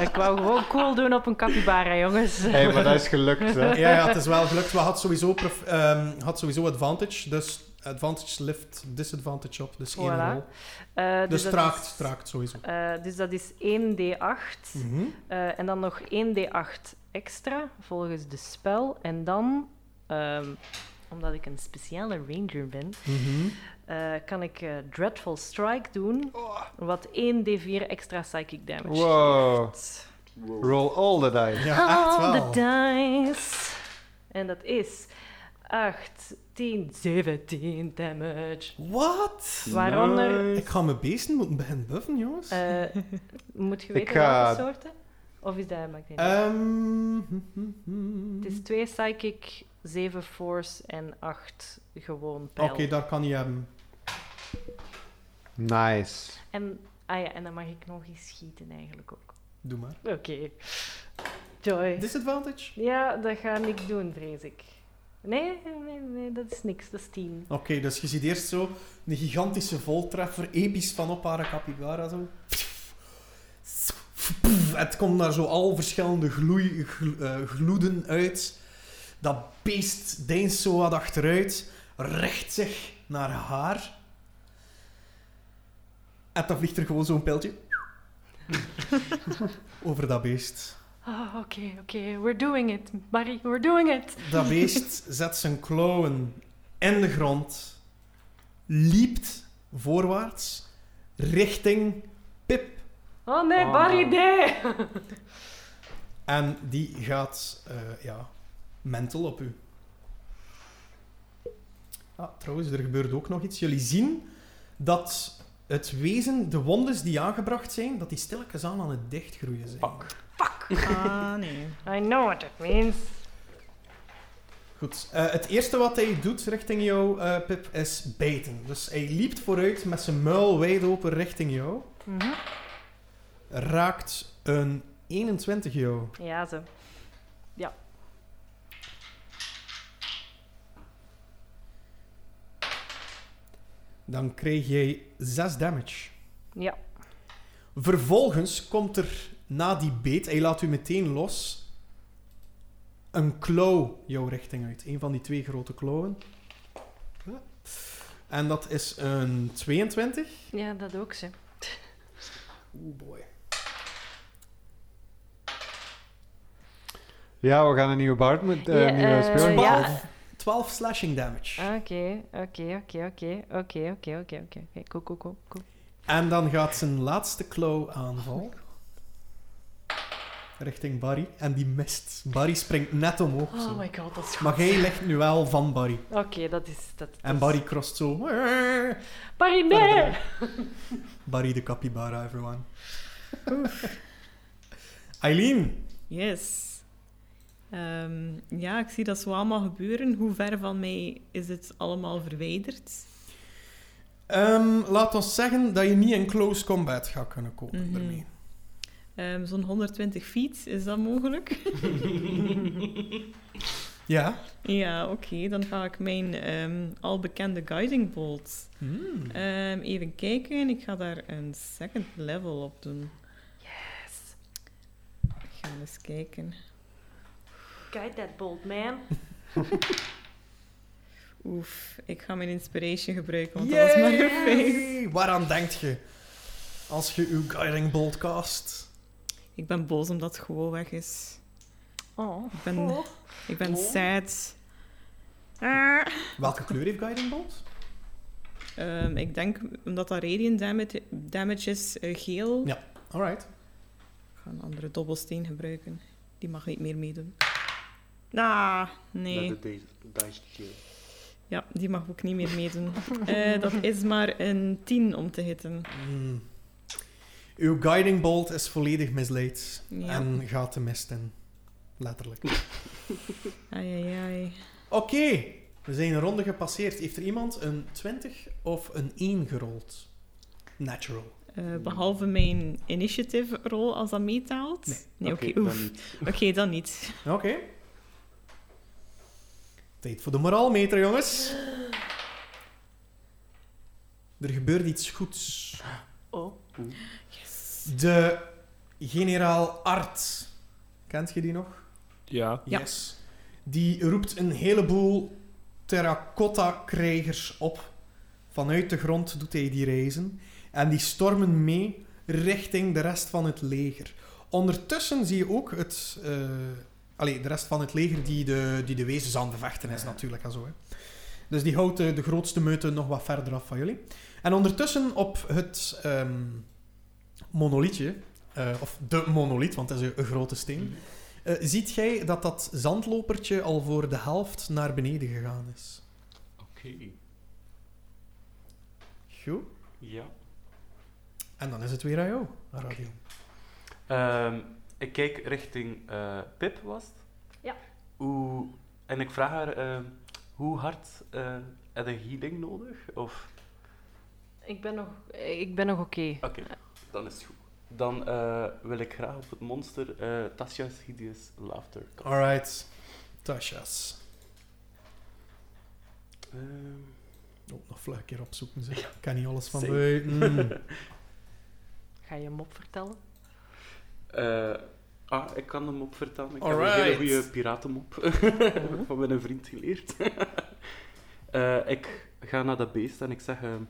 ik wou gewoon cool doen op een capybara, jongens. Hé, maar dat is gelukt. Hè. ja, ja, het is wel gelukt. We had sowieso, pref- ehm, had sowieso advantage. Dus advantage lift disadvantage op. Dus één Voilà. rol. Eh, Dus dat traagt, is- traagt sowieso. eh, dus dat is 1d8. Mhm. eh, en dan nog 1d8 extra, volgens de spel. En dan, ehm, omdat ik een speciale ranger ben, Mhm. eh, kan ik eh, Dreadful Strike doen. Wat 1d4 extra psychic damage Wow. geeft. Roll all the dice. Ja, echt All wel. the dice. En dat is 8, 10, 17 damage. Wat? Waaronder Ik ga mijn beesten moeten beginnen buffen, jongens. eh, moet je weten Ik ga- welke soorten? Of is dat maakt niet uit. Ehm, hmm, hmm, hmm. Het is 2 psychic, 7 force en 8 gewoon Oké, pijl. daar kan je hem. Nice. en, ah ja, en dan mag ik nog eens schieten eigenlijk ook. Doe maar. Oké. Joy. Disadvantage? Ja, dat ga ik doen, vrees ik. Nee, nee, nee, dat is niks. Dat is 10. Oké, dus je ziet eerst zo een gigantische voltreffer, episch van op haar capybara zo. Het komt daar zo al verschillende gloei, glo- eh, gloeden uit. Dat beest deinst zo wat achteruit, richt zich naar haar. En dan vliegt er gewoon zo'n pijltje over dat beest. Oh, oké, oké. We're doing it, Marie. We're doing it. Dat beest zet zijn klauwen in de grond, liept voorwaarts richting Pip. Oh nee, Ah. Barry, nee. En die gaat, eh, ja, mental op u. Ah, trouwens, er gebeurt ook nog iets. Jullie zien dat het wezen, de wondes die aangebracht zijn, dat die stilletjes aan aan het dichtgroeien zijn. Ah, nee. I know what it means. Goed. eh, het eerste wat hij doet richting jou, eh, Pip, is bijten. Dus hij liept vooruit met zijn muil wijd open richting jou. Mhm. Raakt een 21 jou. Ja, zo. Ja. Dan krijg jij 6 damage. Ja. Vervolgens komt er na die beet, hij laat u meteen los, een klauw jouw richting uit. Een van die twee grote klauwen. En dat is een 22. Ja, dat ook, ze. Oeh boy. Ja, we gaan een nieuwe Bart met eh Ja, nieuwe eh, speler. ja. 12, 12 slashing damage. Ah, Oké, oké, oké, oké, oké, oké, oké, oké, oké, cool, cool, cool, cool. En dan gaat zijn laatste klauw aanval. Richting Barry. En die mist. Barry springt net omhoog. zo. Oh my god, dat is goed. Maar jij ligt nu wel van Barry. Oké, dat is... Dat, dat En is- Barry crost zo. Barry, nee! Barry de capybara, everyone. Eileen, Yes. Ehm, ja, ik zie dat zo allemaal gebeuren. Hoe ver van mij is het allemaal verwijderd? ehm, laat ons zeggen dat je niet in close combat gaat kunnen komen Mhm. ermee. Ehm, Zo'n 120 feet, is dat mogelijk? Ja. ja, oké. dan ga ik mijn ehm, al bekende Guiding Bolt Hmm. ehm, even kijken. Ik ga daar een second level op doen. Yes. Ik ga eens kijken. Guide that bold man. Oef, ik ga mijn inspiration gebruiken, want dat was maar een feest. Yay! Waaraan denkt je als je uw guiding bolt cast? Ik ben boos omdat het gewoon weg is. Oh. Ik ben, Oh. Ah. ik ben sad. Ah. Welke kleur heeft guiding bolt? Ehm, ik denk, omdat dat radiant damage, damage is, eh, geel. Ja. Alright. Ik ga een andere dobbelsteen gebruiken. Die mag niet meer meedoen. Ah, nee. Met de dice geel. Ja, die mag ook niet meer meedoen. Eh, dat is maar een 10 om te hitten. Hmm. Uw guiding bolt is volledig misleid Ja. en gaat de mist in. Letterlijk. Oké, Ai, ai, ai. we zijn een ronde gepasseerd. Heeft er iemand een 20 of een 1 gerold? Natural. Eh, behalve mijn initiative rol als dat meetaalt. Nee, oké, Oké, dan oef. niet. Oké, dan niet. Oké. Tijd voor de moraalmeter, jongens. Er gebeurt iets goeds. Oh. De generaal Art. Kent je die nog? Ja. Ja. Yes. Die roept een heleboel terracotta-krijgers op. Vanuit de grond doet hij die reizen. En die stormen mee richting de rest van het leger. Ondertussen zie je ook het... eh, allee, de rest van het leger die de, die de wezens aan het vechten is natuurlijk. En zo, hè. Dus die houdt eh, de grootste meute nog wat verder af van jullie. En ondertussen op het ehm monolietje, eh, of de monoliet, want dat is een- een grote steen, eh, ziet jij dat dat zandlopertje al voor de helft naar beneden gegaan is? Oké. Goed. Ja. En dan is het weer aan jou, Radio. Ehm, ik kijk richting eh, Pip, was het? Ja. Hoe, en ik vraag haar, ehm, hoe hard eh heb je healing nodig? Of, Ik ben nog, ik ben nog oké. oké, dan is het goed. Dan eh, wil ik graag op het monster eh Tasha's Hideous Laughter kasten. Alright. Tasha's. Ehm, Oh, nog vlug een keer opzoeken, zeg. Ik kan niet alles van Same. buiten. Mm. Ga je mop vertellen? eh, ah, ik kan hem op vertellen. Ik heb een Alright. hele goede piratenmop van mijn vriend geleerd. Eh, ik ga naar dat beest en ik zeg... ehm,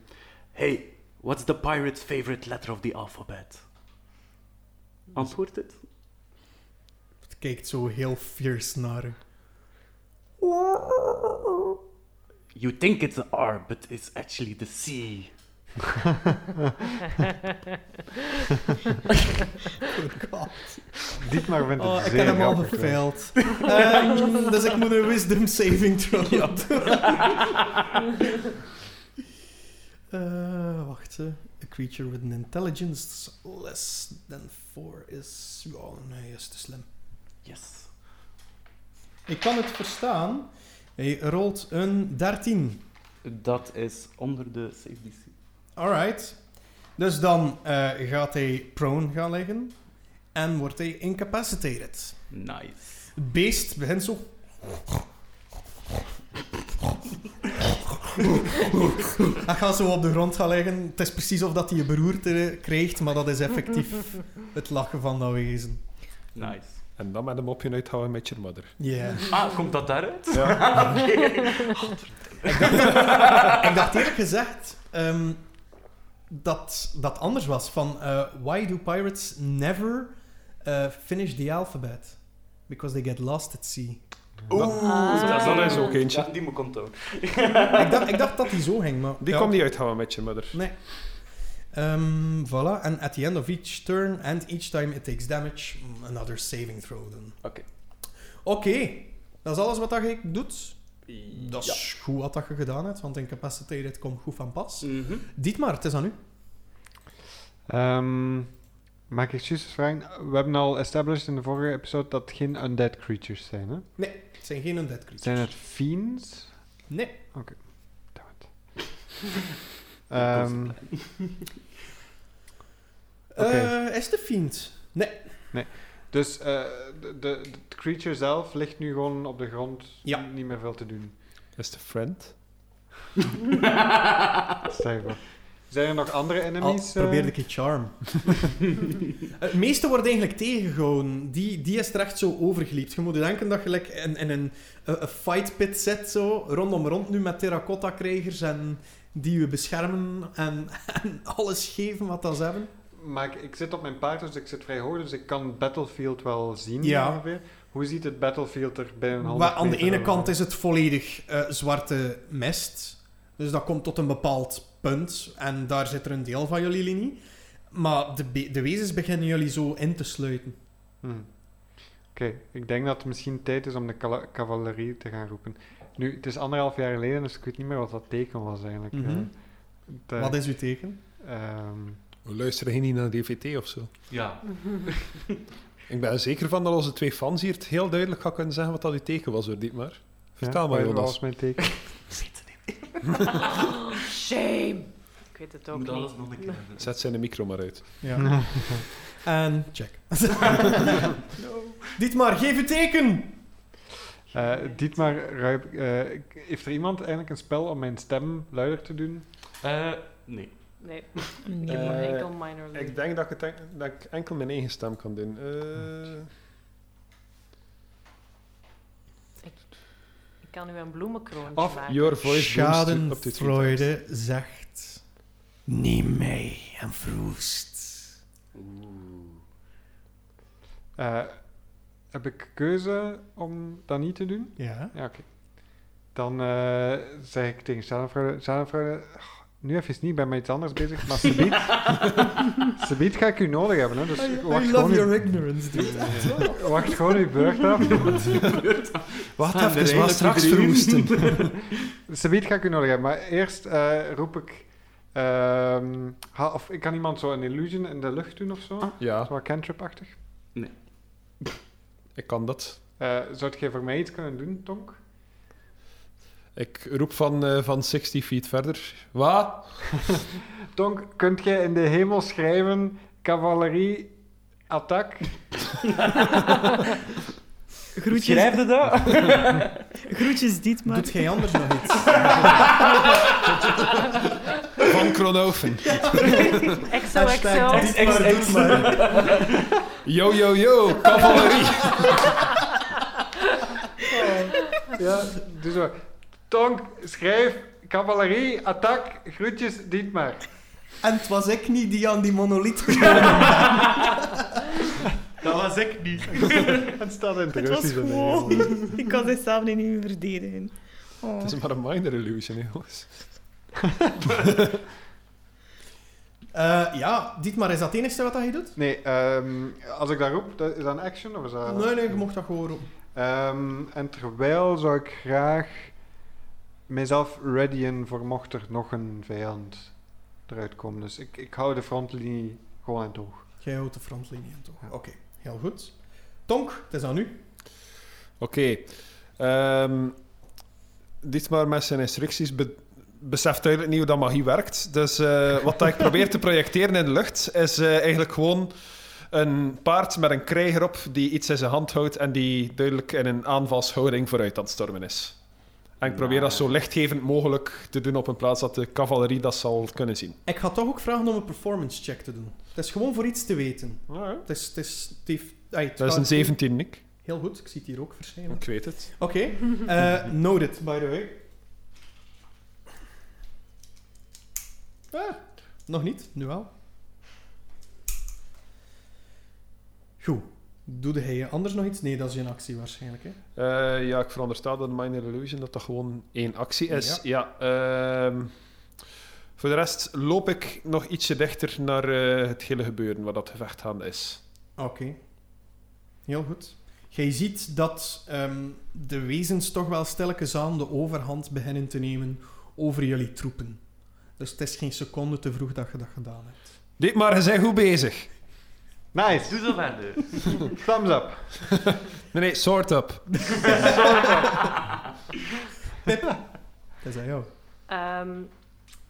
hey, what's the pirate's favorite letter of the alphabet? Antwoord het. Het kijkt zo heel fierce naar u. You think it's a R, but it's actually the C. Good God. Dietmar vindt het Oh, ik zeer heb hem al grappig, hè. geveild. Ehm, dus ik moet een wisdom saving throw doen. Eh, wacht. eh. A creature with an intelligence less than 4 is... Oh, nee, is te slim. Yes. Ik kan het verstaan. Hij rolt een 13. Dat is onder de safety C. Alright. Dus dan eh, gaat hij prone gaan liggen. En wordt hij incapacitated. Nice. Het beest begint zo. Hij gaat zo op de grond gaan liggen. Het is precies of dat hij een beroerte krijgt, maar dat is effectief het lachen van dat wezen. Nice. En dan met een mopje uithouden met je mother. Ja. Ah, komt dat daaruit? Ik dacht eerlijk gezegd ehm, dat dat anders was. Van eh, why do pirates never eh, finish the alphabet? Because they get lost at sea. dat is dan eens ook eentje. Ja, die moet komt ook. ik, dacht, ik dacht dat die zo ging, maar... Die ja. kwam niet uithouden met je mother. Nee. Ehm, voilà. And at the end of each turn and each time it takes damage, mm, another saving throw dan. Oké. Oké. Dat is alles wat dat je doet. Dat Ja. is goed wat dat je gedaan hebt, want incapacitated komt goed van pas. Mhm. Dietmar, het is aan u. Ehm, mag ik juist eens vragen? We hebben al established in de vorige episode dat het geen undead creatures zijn, hè? Het zijn geen undead creatures. Zijn het fiends? Nee. Damn it. Ehm, Oké. Eh, is de fiend? dus eh, de, de, het creature zelf ligt nu gewoon op de grond. Ja. Niet meer veel te doen. Is de friend? Stel je voor. Zijn er nog andere enemies? Al, probeerde eh? ik je charm. het Eh, meeste wordt eigenlijk tegengehouden. Die, die is er echt zo overgeliept. Je moet je denken dat je like, in, in een, eh, een fight pit zit, zo, rondom rond nu met terracotta-krijgers en die je beschermen en, en alles geven wat dat ze hebben. Maar ik, ik zit op mijn paard, dus ik zit vrij hoog, dus ik kan het battlefield wel zien Ja. ongeveer. Hoe ziet het battlefield er binnen een Maar aan de ene kant is het volledig eh, zwarte mest. Dus dat komt tot een bepaald punt. En daar zit er een deel van jullie linie. Maar de, be- de wezens beginnen jullie zo in te sluiten. Hm. Oké, ik denk dat het misschien tijd is om de kala- cavalerie te gaan roepen. Nu, het is anderhalf jaar geleden, dus ik weet niet meer wat dat teken was eigenlijk. Mhm. Eh, het, eh, Wat is uw teken? ehm, We luisteren hier niet naar DVT of zo. Ja. Ik ben er zeker van dat onze twee fans hier het heel duidelijk gaan kunnen zeggen wat dat uw teken was, hoor, maar. Vertel ja, maar, wat- wat Jonas. was mijn teken? Shame! Ik weet het ook Moet alles niet. nog een keer hebben. Zet zijn micro maar uit. Ja. en check. Dietmar, geef uw teken! Eh, Dietmar Ruip, eh, ik- heeft er iemand eigenlijk een spel om mijn stem luider te doen? Eh, nee. Nee, ik Nee. heb nog Eh, enkel minor league. Ik denk dat ik, het en- dat ik enkel mijn eigen stem kan doen. Eh, Ik kan nu een bloemenkroontje Of maken. your voice boost op de tweet. Schadenfreude zegt... Neem mij en vroest. Eh, heb ik keuze om dat niet te doen? Ja. Ja, oké. Dan eh, zeg ik tegen Schadenfreude, Schadenfreude, oh, nu even niet, ik ben met iets anders bezig, maar subiet, subiet ga ik u nodig hebben. Hè, dus wacht, I gewoon love uw, your ignorance, dude. wacht gewoon uw beurt af. Wacht Staan er even, wat eigenlijk straks iedereen? verwoesten. Subiet ga ik u nodig hebben, maar eerst eh, roep ik... ehm, ha- of ik kan iemand zo een illusion in de lucht doen of zo? Ah. Ja, Zo wat cantrip-achtig. ik kan dat. Eh, zou jij voor mij iets kunnen doen, Tonk? Ik roep van, eh, van 60 feet verder. Wat? Tonk, kunt jij in de hemel schrijven cavalerie attack? Groetjes, Schrijf je dat? groetjes Dietmar. Doet jij anders nog iets? Van Kronoven. XOXO. Hashtag Dietmar, doe het maar. Yo, yo, yo, cavalerie. ja, dus zo. Tonk, schrijf cavalerie attack, groetjes Dietmar. En het was ik niet die aan die monolith Dat was ik niet. Het staat in het Het was Russisch in de gewoon... hemel. ik kan zichzelf niet meer verdedigen. Oh. Het is maar een minor illusion, hè, jongens. Eh, ja, Dietmar, is dat het enige wat dat je doet? Nee, ehm, als ik dat roep, dat- is dat een action of is dat... nee, nee, je mocht dat gewoon roepen. Ehm, en terwijl zou ik graag mezelf readyen voor mocht er nog een vijand eruit komen. Dus ik, ik hou de frontlinie gewoon aan het oog. Jij houdt de frontlinie aan toch? Ja. Oké, heel goed. Tonk, het is aan u. Oké. Ehm Dietmar met zijn instructies be- beseft duidelijk niet hoe dat magie werkt. Dus eh, wat dat ik probeer te projecteren in de lucht is eh, eigenlijk gewoon een paard met een krijger op die iets in zijn hand houdt en die duidelijk in een aanvalshouding vooruit aan het stormen is. En ik probeer dat zo lichtgevend mogelijk te doen op een plaats dat de cavalerie dat zal kunnen zien. Ik ga toch ook vragen om een performance check te doen. Het is gewoon voor iets te weten. Het is... Het is het heeft- ai, het Dat is gaat- een 17, Nick. Heel goed, ik zie het hier ook verschijnen. Ik weet het. Oké, eh, noted, by the way. Ah, nog niet, nu wel. Goed. Doe hij anders nog iets? Nee, dat is een actie waarschijnlijk. Hè? Eh, ja, ik veronderstel dat Minor Illusion dat dat gewoon één actie is. Ja. ehm, voor de rest loop ik nog ietsje dichter naar eh, het hele gebeuren waar dat gevecht gaande is. Oké. Heel goed. Jij ziet dat ehm, de wezens toch wel stilletjes aan de overhand beginnen te nemen over jullie troepen. Dus het is geen seconde te vroeg dat je dat gedaan hebt. Dit maar, je bent goed bezig. Nice, Doe zo verder. thumbs up. Nee, nee, sort up. Dat is aan jou. Ehm,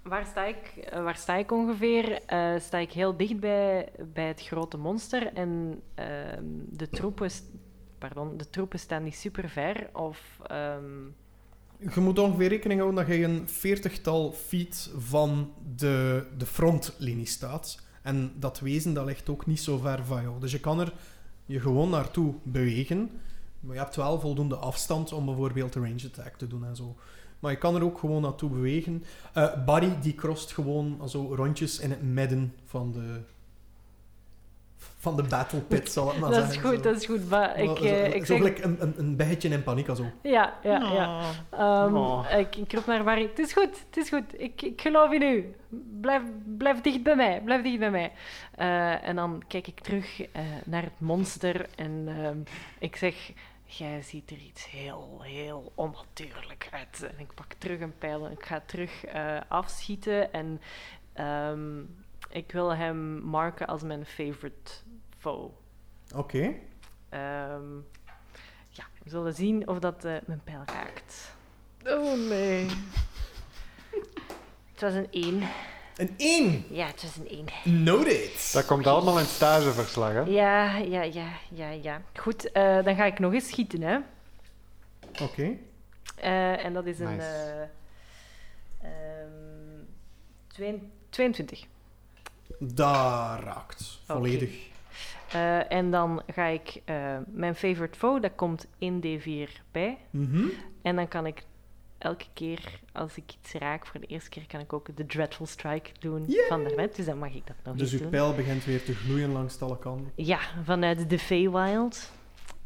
waar, sta ik, eh, waar sta ik ongeveer? Eh, sta ik heel dicht bij, bij het grote monster en ehm, de, troepen, st- pardon, de troepen staan niet super ver. Of, ehm, Je moet ongeveer rekening houden dat je een veertigtal feet van de, de frontlinie staat. En dat wezen dat ligt ook niet zo ver van jou. Dus je kan er je gewoon naartoe bewegen. Maar je hebt wel voldoende afstand om bijvoorbeeld een range attack te doen en zo. Maar je kan er ook gewoon naartoe bewegen. Eh, Barry die crost gewoon zo rondjes in het midden van de, van de battle pit, zal het maar dat is zeggen. goed, zo. dat is goed. Maar ik, Zo- eh, zo- zo ik zeg... gelijk Ah. een, een, een bijtje in paniek, alsof. Ja, ja, ja. Oh. Ehm, Oh. ik, ik roep naar Marie. Het is goed, het is goed. Ik, ik geloof in u. Blijf, blijf dicht bij mij. Blijf dicht bij mij. Eh, en dan kijk ik terug eh, naar het monster en ehm, ik zeg... Jij ziet er iets heel, heel onnatuurlijk uit. En ik pak terug een pijl en ik ga terug eh, afschieten. En ehm, ik wil hem marken als mijn favorite foe. Oké. Ehm, ja, we zullen zien of dat eh, mijn pijl raakt. Oh nee. Het was een 1. Een 1! Ja, het was een 1. Noted! Dat komt allemaal in het stageverslag, hè? Ja, ja, ja, ja, ja. Goed, eh, dan ga ik nog eens schieten, hè. Oké. Eh, en dat is een... Nice. eh, ehm, twee- 22. Dat raakt. Oké. Volledig. Eh, en dan ga ik eh, mijn favorite foe, daar komt 1d4 bij. Mhm. En dan kan ik elke keer als ik iets raak, voor de eerste keer kan ik ook de Dreadful Strike doen Yay! van daarnet. Dus dan mag ik dat nog Dus eens uw doen. pijl begint weer te gloeien langs alle kanten. Ja, vanuit de Feywild.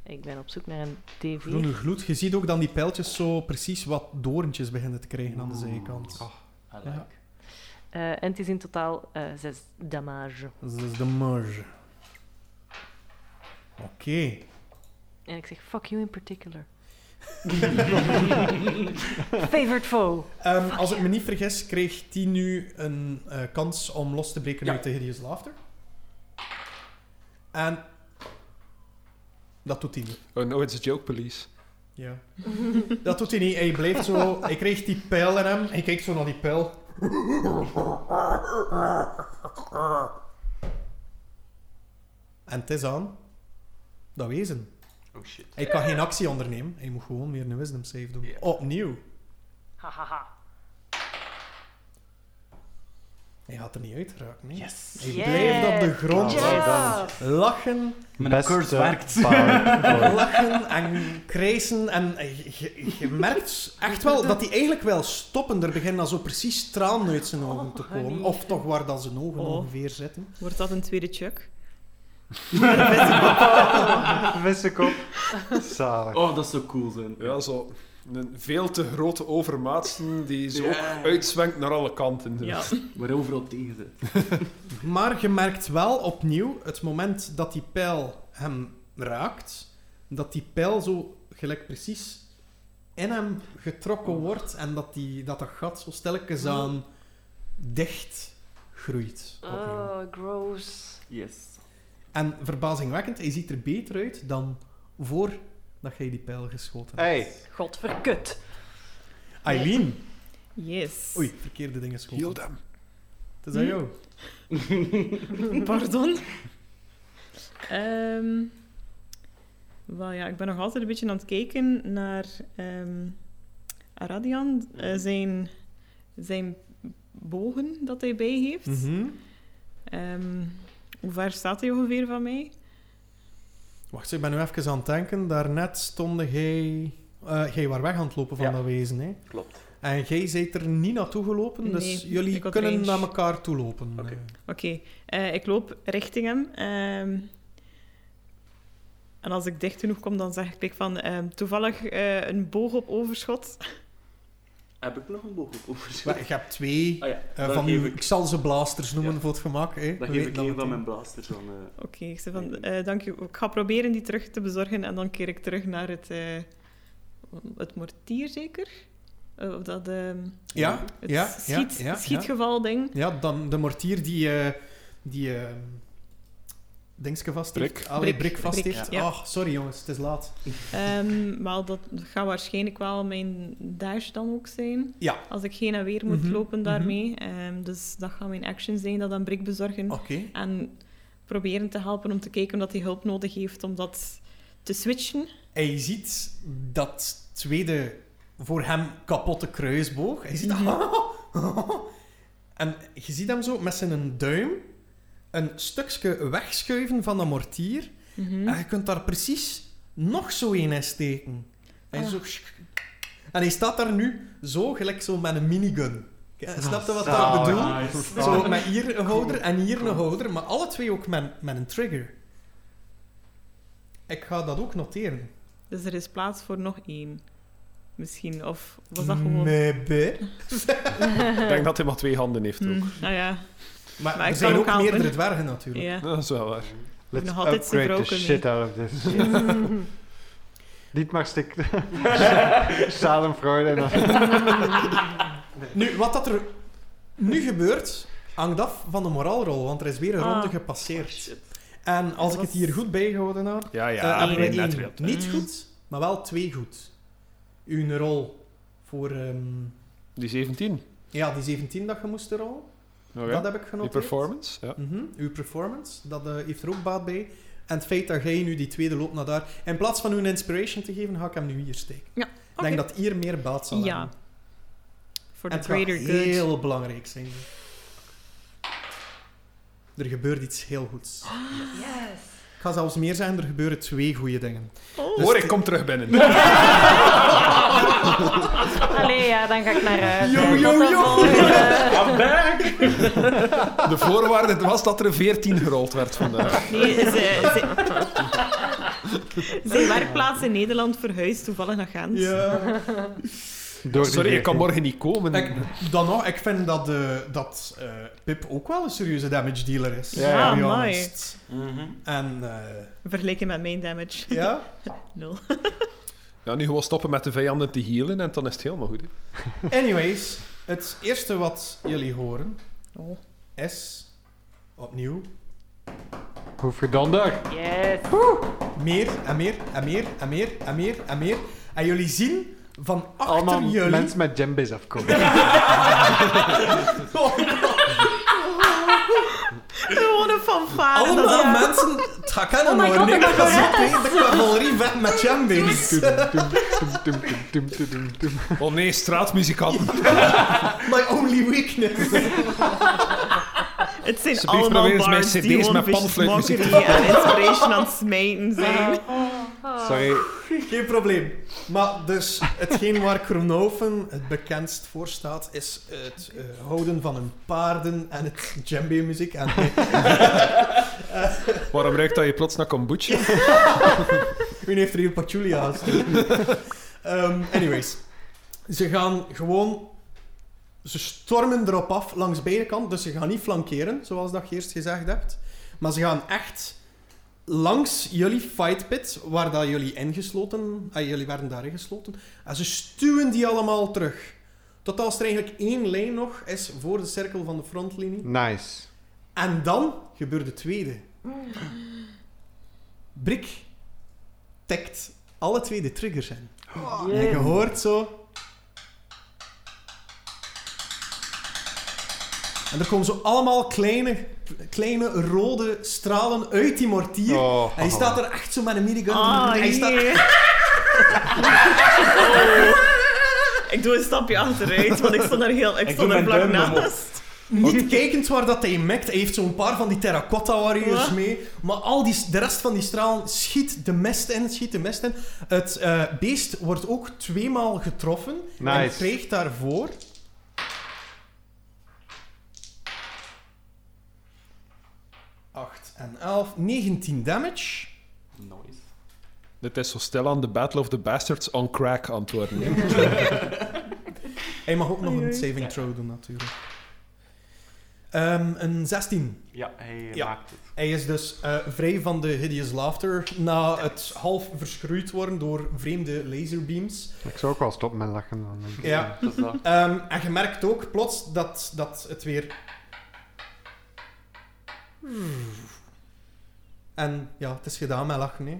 Ik ben op zoek naar een D4. Groene gloed. Je ziet ook dan die pijltjes zo precies wat doorntjes beginnen te krijgen aan de zijkant. I like. Ja. Eh, en het is in totaal eh 6 damage. Dus Dat is de marge. Oké. En ik zeg, fuck you in particular. Favorite foe. Ehm, als ik me niet vergis, kreeg die nu een eh, kans om los te breken Ja. uit de Hideous Laughter. En dat doet hij niet. Oh, no, it's a joke, police. Ja. dat doet hij niet. Hij blijft zo... Hij kreeg die pijl in hem. Hij kijkt zo naar die pijl. En het is aan. Dat wezen. Oh shit. Hij kan geen actie ondernemen. Hij moet gewoon weer een wisdom save doen. Ja. Opnieuw. Hahaha. Hij gaat er niet uitraken. Nee. Yes. Hij Yeah. blijft op de grond Ja. Ja. lachen, Mijn Beste curse werkt. power. lachen en krijsen. En je- je je merkt echt wel dat die eigenlijk wel stoppen. Er beginnen dan zo precies tranen uit zijn ogen te komen. honey. Of toch waar dan zijn ogen Oh. ongeveer zitten. Wordt dat een tweede chuck? Wist ik op. Zalig. Oh, dat zou cool zijn. Ja, zo een veel te grote overmaatsen die zo Ja. uitzwenkt naar alle kanten. Ja. Waar overal tegen zit. Maar je merkt wel opnieuw, het moment dat die pijl hem raakt, dat die pijl zo gelijk precies in hem getrokken wordt en dat die, dat, dat gat zo stilletjes aan dicht groeit. opnieuw. Oh, gross. Yes. En verbazingwekkend, hij ziet er beter uit dan voor dat jij die pijl geschoten hebt. Hey, Godverkut. Eh, Eileen. Yes. Oei, verkeerde dingen geschoten. Heal them. Het is aan jou. Pardon. Ehm wel ja, ik ben nog altijd een beetje aan het kijken naar ehm Aradian. eh, zijn, zijn bogen dat hij bij heeft. Hm. Mhm. Ehm, hoe ver staat hij ongeveer van mij? Wacht, ik ben nu even aan het denken. Daarnet stonden jij... eh jij was weg aan het lopen van Ja. dat wezen, hè? Klopt. En jij zijt er niet naartoe gelopen, dus Nee, jullie ik had kunnen range. naar elkaar toe lopen. Oké. Oké, eh, ik loop richting hem. ehm, en als ik dicht genoeg kom, dan zeg ik van ehm, toevallig eh, een boog op overschot. Heb ik nog een boog op Maar Ah je hebt twee ja, eh, dan van geef uw- ik... ik, zal ze blasters noemen voor het gemak. Hè. dan We geef weten ik dat een van mijn meteen. blasters dan. eh, Oké, ik zeg van eh, dank u. Ik ga proberen die terug te bezorgen en dan keer ik terug naar het, eh, het mortier, zeker? Eh, Of dat ehm, Ja, het ja, ja, schiet, ja, ja. schietgeval-ding. Ja, dan de mortier die... eh, die eh Dingske vast heeft. Brik. Allee, Brik, brik vast brik, heeft. ja. Ah, sorry jongens, het is laat. Ehm, maar dat gaat waarschijnlijk wel mijn dash dan ook zijn. Ja. Als ik geen en weer moet Mhm, lopen mhm. daarmee. Ehm, dus dat gaat mijn action zijn, dat aan Brik bezorgen. Oké. En proberen te helpen om te kijken of dat hij hulp nodig heeft om dat te switchen. Hij ziet dat tweede voor hem kapotte kruisboog. Hij ziet Mhm. En je ziet hem zo met zijn duim een stukje wegschuiven van dat mortier. Mhm. Hm? En je kunt daar precies nog zo een in steken. Hij Ah. zo... En hij staat daar nu zo, gelijk zo met een minigun. Eh, Snap je wat ik Ah, bedoel? nice. Zo met hier een houder en hier een houder, maar alle twee ook met, met een trigger. Ik ga dat ook noteren. Dus er is plaats voor nog één. Misschien. Of was dat gewoon... Maybe. Ik denk dat hij maar twee handen heeft ook. Hm, nou ja. Maar, Maar er ik zijn kan ook ook aan- meerdere dwergen natuurlijk. ja. Dat is wel waar. Let's Nog altijd zijn upgrade the broken shit out of this. Niet maar stik. Salemfreude en dan... Nu, wat dat er nu gebeurt, hangt af van de moraalrol, want er is weer een Ah. ronde gepasseerd. En als ik het hier goed bijgehouden heb, Ja, eh, ja, hebben we nee, één natuurlijk. niet Mm. goed, maar wel twee goed. Uw rol voor ehm, Die 17. ja, die 17 dat je moest rollen, Oké. dat heb ik Die genoteerd. performance. Ja. Mhm, Uw performance, dat eh, heeft er ook baat bij. En het feit dat jij nu die tweede loopt naar daar... In plaats van u een inspiration te geven, ga ik hem nu hier steken. Oké. Ik denk dat hier meer baat zal Ja. hebben. Voor En de het gaat greater good. heel belangrijk zijn. Er gebeurt iets heel goeds. Ah, Yes. Ik ga zelfs meer zeggen, er gebeuren twee goede dingen. Oh. Dus Hoor, het- ik kom terug binnen. Allee, ja, dan ga ik naar huis. Yo, hè. yo, Tot de yo. volgende. I'm back! De voorwaarde was dat er een 14 gerold werd vandaag. Nee, ze, ze, zijn werkplaats in Nederland verhuisd toevallig naar Gent. Ja. Door die Sorry, ik kan veertien. morgen niet komen. Ik, dan nog, ik vind dat, eh, dat eh, Pip ook wel een serieuze damage dealer is. Ja, ja. to be Ah, amai. honest. En eh, Vergeleken met mijn damage. ja, Nul. Ja, nu gewoon stoppen met de vijanden te healen en dan is het helemaal goed. hè. Anyways, het eerste wat jullie horen Oh. is opnieuw Hoe verdon daar? Yes. meer en meer en meer en meer en meer en meer. En jullie zien van achter Allemaal jullie. mensen met djembes afkomen. Gewoon een fanfare. Allemaal dat is- mensen. Het gaat kennen, Oh my maar God, nee, ik dat ben gaat zo tegen de cavalry vet met jambes. Oh nee, straatmuzikanten. My only weakness. Het zijn Ze allemaal proberen eens mijn bards CD's die gewoon met vicious panfluitmuziek te mockery en inspiration aan het smijten zijn. Sorry. Geen probleem. Maar dus, hetgeen waar Kronoven het bekendst voor staat, is het eh, houden van hun paarden en het djembe-muziek. En Waarom ruikt dat je plots naar kombucha? Wie heeft er hier patchouli aan? Ehm, anyways. Ze gaan gewoon... Ze stormen erop af langs beide kanten. Dus ze gaan niet flankeren, zoals dat je eerst gezegd hebt. Maar ze gaan echt langs jullie fight pit, waar dat jullie ingesloten... ah, jullie werden daarin gesloten. En ze stuwen die allemaal terug. Tot als er eigenlijk één lijn nog is voor de cirkel van de frontlinie. Nice. En dan gebeurt het tweede. Brik tikt alle twee de triggers in. En je hoort zo... En er komen zo allemaal kleine, kleine rode stralen uit die mortier. Oh. En hij staat er echt zo met een minigun. Ah, hij staat jee. Oh. Ik doe een stapje achteruit, want ik stond er heel... Ik Ik stond doe er mijn vlak duim naast. Niet kijkend waar dat hij mekt. Hij heeft zo'n paar van die terracotta warriors Ja. mee. Maar al die, de rest van die stralen schiet de mist in, schiet de mist in. Het eh, beest wordt ook tweemaal getroffen. En Nice. krijgt daarvoor... Acht en elf. 19 damage. Nice. Dit is zo stil aan de Battle of the Bastards on crack antwoorden. Hij mag ook nog Oei, een oei. saving Ja. throw doen, natuurlijk. Ehm, een 16. Ja, hij Ja. maakt het. Hij is dus eh, vrij van de hideous laughter na het half verschroeid worden door vreemde laserbeams. Ik zou ook wel stoppen met lachen. Dan denk ik. Ja. Dat is dat. Ehm, en je merkt ook plots dat, dat het weer... En ja, het is gedaan met lachen, hè.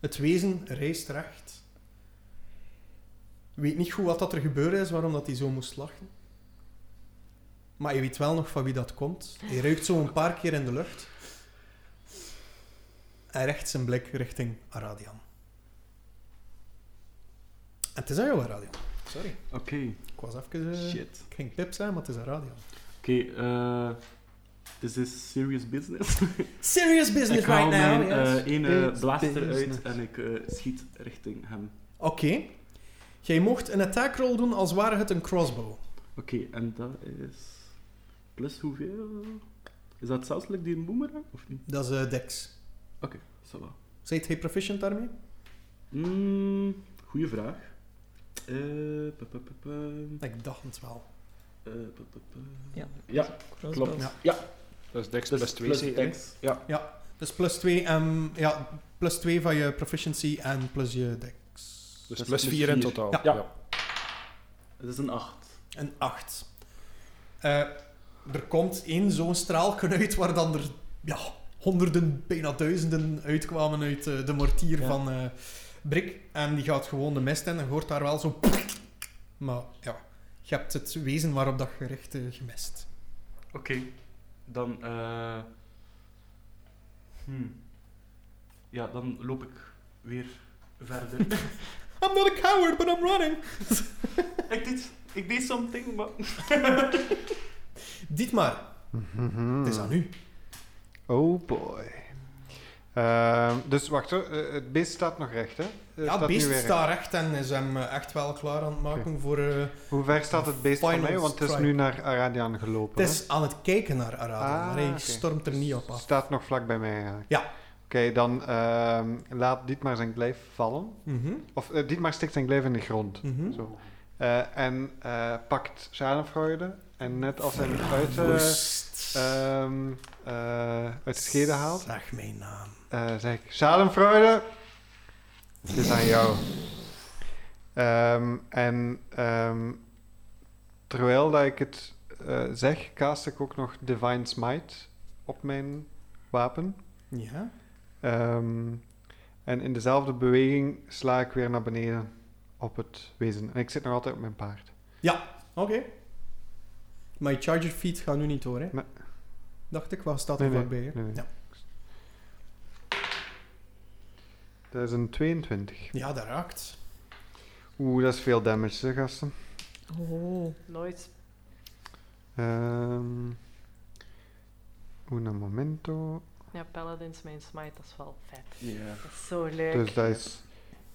Het wezen reist recht. Weet niet goed wat dat er gebeurd is, waarom dat hij zo moest lachen. Maar je weet wel nog van wie dat komt. Hij ruikt zo een paar keer in de lucht. En recht zijn blik richting Aradian. En het is aan jou, Aradian. Sorry. Oké, Ik was even... eh, shit. ik ging Pip zijn, maar het is Aradian. Oké, eh... This is serious business. Serious business ik haal right now, mijn eh, yes. ene Serious blaster business. uit en ik eh, schiet richting hem. Oké. Jij mocht een attack roll doen als ware het een crossbow. Oké, en dat is... Plus hoeveel? Is dat zelfs like die boomerang, of niet? Dat is eh, dex. Oké, ça va. Zijt hij proficient daarmee? Mm, goeie vraag. Eh, pa, pa, pa, pa. Ik dacht het wel. Eh, pa, pa, pa. Ja. Ja, Crossbow. Ja. Dat is Dex dus plus 2 zeker. hè? dex, Ja. Dus plus 2 en ja, plus 2 van je proficiency en plus je dex. Dus Dat plus is 4 in vier. totaal. Ja. Ja. Het is een 8. Een 8. Eh, er komt één zo'n straalken uit waar dan er ja, honderden, bijna duizenden uitkwamen uit eh, de mortier Ja. van eh Brik. En die gaat gewoon de mist in en hoort daar wel zo... Maar ja, je hebt het wezen waarop dat gericht eh, gemist. Oké. Dan, eh hmm. Ja, dan loop ik weer verder. I'm not a coward, but I'm running. ik, deed, ik deed something, maar... Dit maar, het Hmm. is aan u. Mhm. Oh boy. Ehm, dus wacht hoor, eh, het beest staat nog recht, hè? Eh, Ja, het staat nu beest weer recht. staat recht en is hem eh, echt wel klaar aan het maken voor... eh, Hoe ver staat het beest van Final mij? Want het is strike. nu naar Aradian gelopen. het is aan het kijken naar Arada, Ah, maar hij oké. stormt er niet op Het af. staat nog vlak bij mij eigenlijk. Ja. Oké, dan ehm, laat Dietmar zijn glijf vallen. Mhm, Of eh, Dietmar stikt zijn glijf in de grond. mhm. Zo. Eh, en eh, pakt schadenfreude. En net als hij hem uit, eh, Woest. ehm, eh, uit het schede haalt, Zeg mijn naam. eh, zeg ik: Schadenfreude, het is aan jou. Ehm, en ehm, terwijl dat ik het eh, zeg, cast ik ook nog Divine Smite op mijn wapen. Ja? Ehm, en in dezelfde beweging sla ik weer naar beneden op het wezen. En ik zit nog altijd op mijn paard. Oké. Maar je charger feet gaat nu niet door, hè? Nee. Dacht ik, wel staat Nee, er nee, vlakbij, hè? nee, nee. Ja. Dat is een 22. ja, dat raakt. Oeh, dat is veel damage, hè, gasten. Oh. Nooit. Ehm un momento. Ja, Paladins, mijn smite, dat is wel vet. Ja. Dat is zo leuk. Dus dat is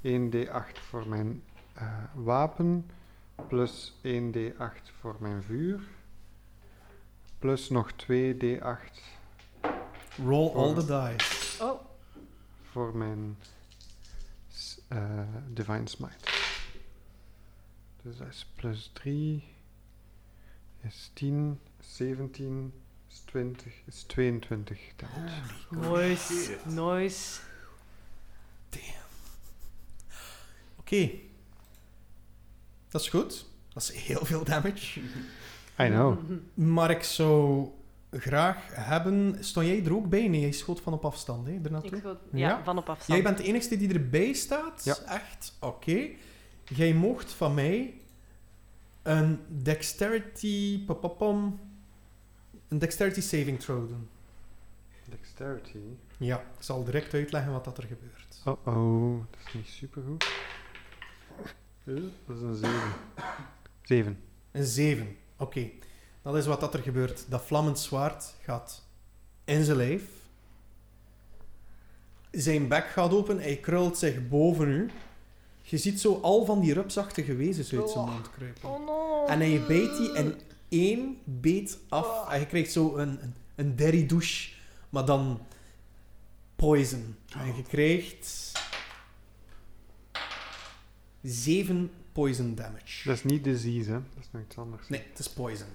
1d8 voor mijn eh, wapen. Plus 1d8 voor mijn vuur. Plus nog 2d8 Roll all Oh. the dice. Oh, voor mijn s- eh, Divine Smite. Dus dat is plus 3, is 10, is 17, is 20, is 22 damage. nice. Oh, Nice. Oké. Dat is goed. Dat is heel veel damage. Ah, I know. Mm, Maar ik zou graag hebben... Stond jij er ook bij? Nee, jij schoot van op afstand, hè? Daarnaartoe. Ik schoot, Ja. ja, van op afstand. Jij bent de enige die erbij staat. Ja. Echt? Oké. Jij mocht van mij een dexterity. Papapam, een dexterity saving throw doen. Dexterity. Ja, ik zal direct uitleggen wat dat er gebeurt. Oh oh, dat is niet super goed. Dat is een 7. 7. Een 7. Oké. Dat is wat dat er gebeurt. Dat vlammend zwaard gaat in zijn lijf. Zijn bek gaat open. Hij krult zich boven u. Je ziet zo al van die rupsachtige wezens uit zijn mond kruipen. Oh no. En hij bijt die in één beet af. En je krijgt zo een, een, een derry douche, maar dan poison. En je krijgt 7 poison damage. Dat is niet disease, hè? Dat is nog iets anders. Nee, het is poison.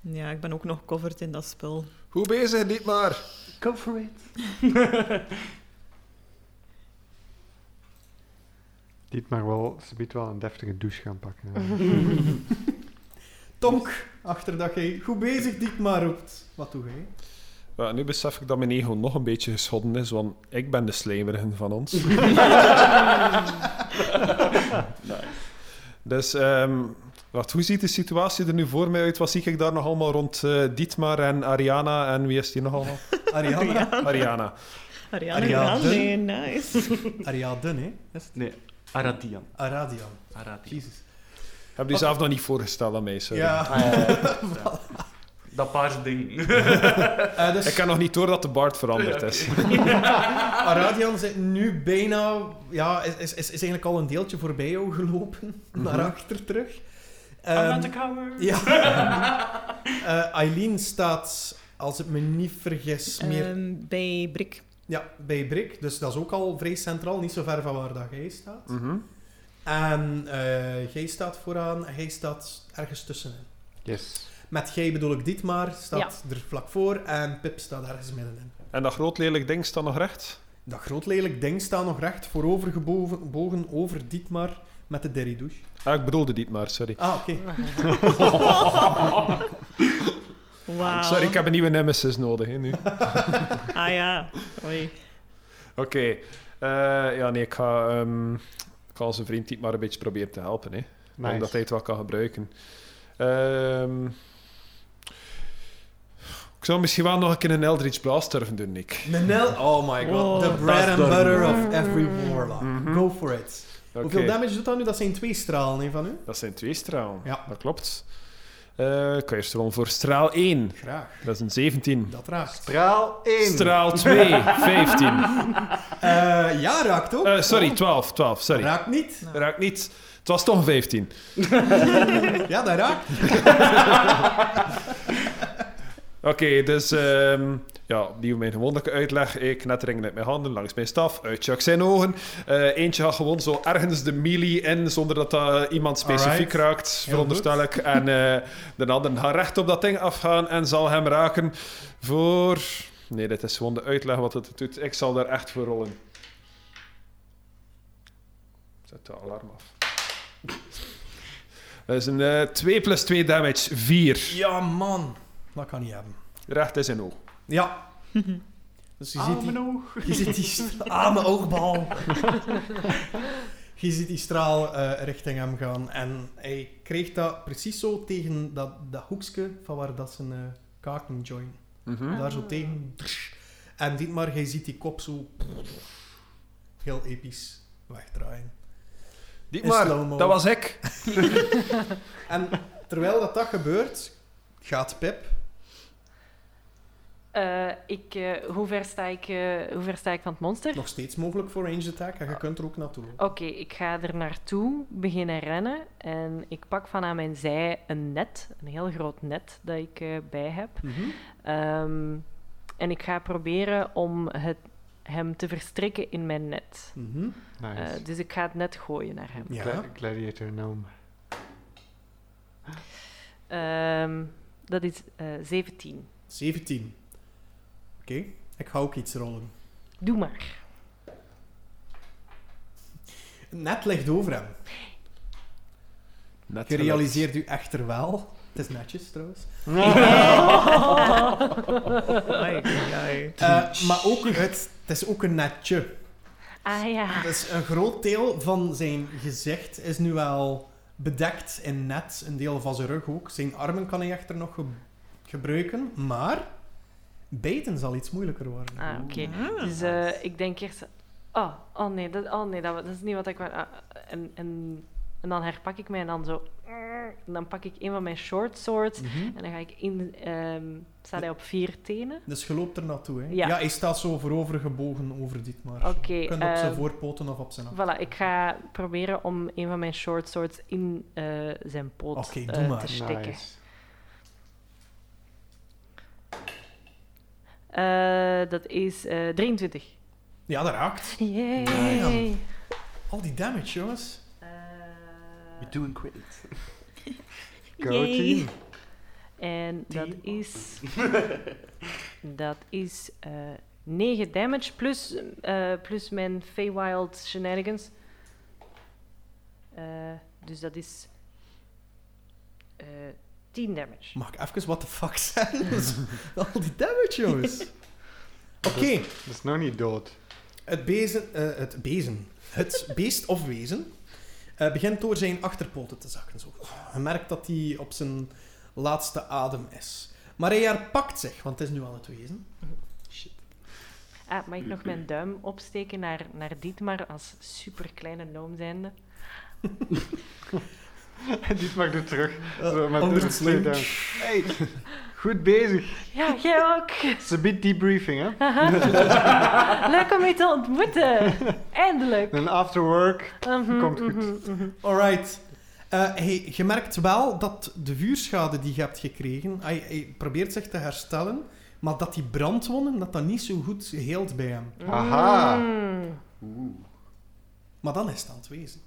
Ja, ik ben ook nog covered in dat spel. Goed bezig, niet maar. Go for it. Dit maar wel, ze biedt wel een deftige douche gaan pakken. hè. Tonk, achter dat jij goed bezig dit maar roept. Wat doe jij? Ja, nu besef ik dat mijn ego nog een beetje geschonden is, want ik ben de slijmerigen van ons. Dus, ehm, wat, hoe ziet de situatie er nu voor mij uit? Wat zie ik daar nog allemaal rond eh, Dietmar en Ariana en wie is die nog allemaal? Ariana? Ariana. Ariane, Ariane. Grande, nice. Ariaden, hè? Nee, Aradian. Aradian. Aradian. Jezus. Heb je zelf nog niet voorgesteld aan mij, sorry. Ja. Ah, ja, ja, ja. Voilà. Dat paarse ding. Eh, dus Ik kan nog niet door dat de baard veranderd is. Aradian zit nu bijna... Ja, is, is, is is eigenlijk al een deeltje voorbij jou gelopen. Naar achter terug. I'm Ah, Ehm, not a coward. ja. Eh, Eileen staat, als ik me niet vergis, meer Ehm, bij Brik. ja, bij Brik. Dus dat is ook al vrij centraal. Niet zo ver van waar dat jij staat. Mhm. En eh jij staat vooraan en jij staat ergens tussenin. Yes. Met jij bedoel ik Dietmar, staat er vlak voor en Pip staat ergens middenin. En dat groot lelijk ding staat nog recht? Dat groot lelijk ding staat nog recht voorovergebogen bogen over Dietmar met de derridouche. Ah, ik bedoelde dit maar, sorry. Ah, oké. Wauw. Sorry, ik heb een nieuwe nemesis nodig hè, nu. Ah ja. Oei. Oké. Eh, ja, nee, ik ga, ehm, ik ga onze vriend Tiet maar een beetje proberen te helpen. Hè. Nice. Omdat hij het wel kan gebruiken. Ehm, ik zou misschien wel nog een keer een Eldritch Blast durven doen, Nick. Nenel, oh my god. Oh, The bread dat and is dan- butter of every warlock. Mhm. Go for it. Oké, Hoeveel damage doet dat nu? Dat zijn twee stralen hè, van u. Dat zijn twee stralen. Ja. Dat klopt. Eh, ik ga eerst rollen voor straal 1. Graag. Dat is een 17. Dat raakt. Straal 1. Straal 2, 15. Eh, ja, raakt ook. Eh, sorry, 12, 12, sorry. Raakt niet. Raakt niet. Het was toch een 15. Ja, dat raakt. Oké, dus ehm, ja, opnieuw mijn gewone uitleg. Ik nettering met mijn handen langs mijn staf, uitchuck zijn ogen. Eh, eentje gaat gewoon zo ergens de melee in, zonder dat dat iemand specifiek Alright. raakt, Heel veronderstel goed. ik. En eh, de ander gaat recht op dat ding afgaan en zal hem raken voor... Nee, dit is gewoon de uitleg wat het doet. Ik zal daar echt voor rollen. Zet de alarm af. Dat is een eh, 2 plus 2 damage, 4. Ja, man. Dat kan niet hebben. Recht is een oog. Ja. Dus je ziet Ah, die... mijn oog. Je ziet die stra- ah, mijn oogbal. je ziet die straal eh, richting hem gaan. En hij kreeg dat precies zo tegen dat, dat hoekje van waar dat zijn eh, kaken join. Mhm. Ah. Daar zo tegen. En dit maar, hij ziet die kop zo heel episch wegdraaien. Diep In maar, slow-mo. dat was ik. En terwijl dat, dat gebeurt, gaat Pip. Eh, ik, eh, hoe, ver sta ik, eh, hoe ver sta ik van het monster? Nog steeds mogelijk voor range attack. Ah. En je kunt er ook naartoe. lopen. Oh. Oké, ik ga er naartoe beginnen rennen en ik pak van aan mijn zij een net, een heel groot net dat ik eh, bij heb. Mhm. Ehm, en ik ga proberen om het, hem te verstrikken in mijn net. Mhm. Eh, Nice. dus ik ga het net gooien naar hem. Ja. Gla- Gladiator gnome. Ehm, dat is eh 17. 17. Oké, ik ga ook iets rollen. Doe maar. Net ligt over hem. Net Je realiseert u echter wel. Het is netjes trouwens. Oei, oei. Eh, maar ook het, het is ook een netje. Ah ja. Dus een groot deel van zijn gezicht is nu wel bedekt in net. Een deel van zijn rug ook. Zijn armen kan hij echter nog ge- gebruiken. Maar bijten zal iets moeilijker worden. Ah, oké. Dus eh, ik denk eerst... Oh, oh nee, dat, oh, nee dat, wa- dat is niet wat ik... wou- ah, en, en, en dan herpak ik mij en dan zo... En dan pak ik een van mijn short swords Mhm. en dan ga ik in... ehm, staat hij op vier tenen? Dus je loopt er naartoe. Hè? Ja. hij staat zo voorovergebogen over dit maar. Oké, Je kunt op zijn eh, voorpoten of op zijn af. Voilà, ik ga proberen om een van mijn short swords in eh, zijn poot Oké, doe eh, maar. te steken. Nice. Eh, dat is eh 23. Ja, dat raakt. Yay! Damn. Al die damage, jongens. Eh, You're doing great. Go Yay. team. En dat Team is. dat is eh 9 damage plus, eh, plus mijn Feywild shenanigans. Eh, dus dat is. eh 10 damage. Mag ik even what the fuck zijn? Dat is- Al die damage, jongens. Oké, Dat is nog niet dood. het bezen... eh, het bezen. Het beest of wezen eh, begint door zijn achterpoten te zakken. Zo. Je merkt dat hij op zijn laatste adem is. Maar hij herpakt zich, want het is nu aan het wezen. Ah, mag ik nog mijn duim opsteken naar, naar Dietmar als super kleine noom zijnde? Dit mag doet terug. Eh, Zo, met onder de het sling. tweede- Hey. Goed bezig. Ja, jij ook. Ze biedt die briefing, hè? Haha. Leuk om je te ontmoeten. Eindelijk. En after work. Mhm, Komt goed. mhm, mhm. Alright. Eh, hey, je merkt wel dat de vuurschade die je hebt gekregen, hij, hij probeert zich te herstellen, maar dat die brandwonden, dat dat niet zo goed heelt bij hem. Aha. Mm. Maar dan is het aan het wezen.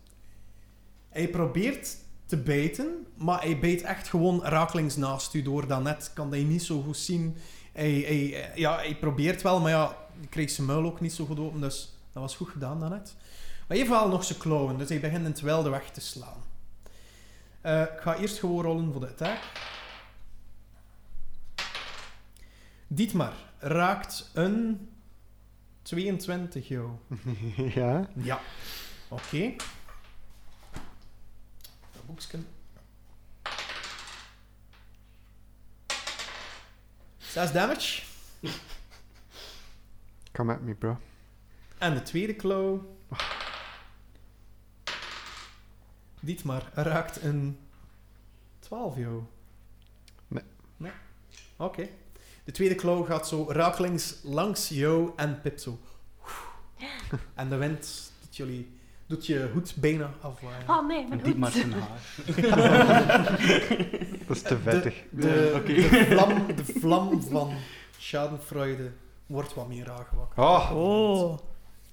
Hij probeert te bijten, maar hij bijt echt gewoon rakelings naast u door. Dan net kan hij niet zo goed zien. Hij, hij, ja, hij probeert wel, maar ja, hij kreeg zijn muil ook niet zo goed open. Dus dat was goed gedaan daarnet. Maar hij heeft wel nog zijn klauwen, dus hij begint in het wilde weg te slaan. Eh, ik ga eerst gewoon rollen voor de attack. Dietmar raakt een 22, joh. ja. Ja. Oké. Dat boekje. 6 damage. Come at me, bro. En de tweede klauw. Dietmar raakt een 12, joh. Nee. Nee. Oké. De tweede klauw gaat zo rakelings langs jou en Pip zo. En de wind doet, jullie, doet je hoed bijna afwaaien. Oh nee, mijn Diep maar hoed. zijn haar. Dat is te vettig. Eh, De, Oké. de, vlam, de vlam van schadenfreude wordt wat meer aangewakkerd. Oh, Oh,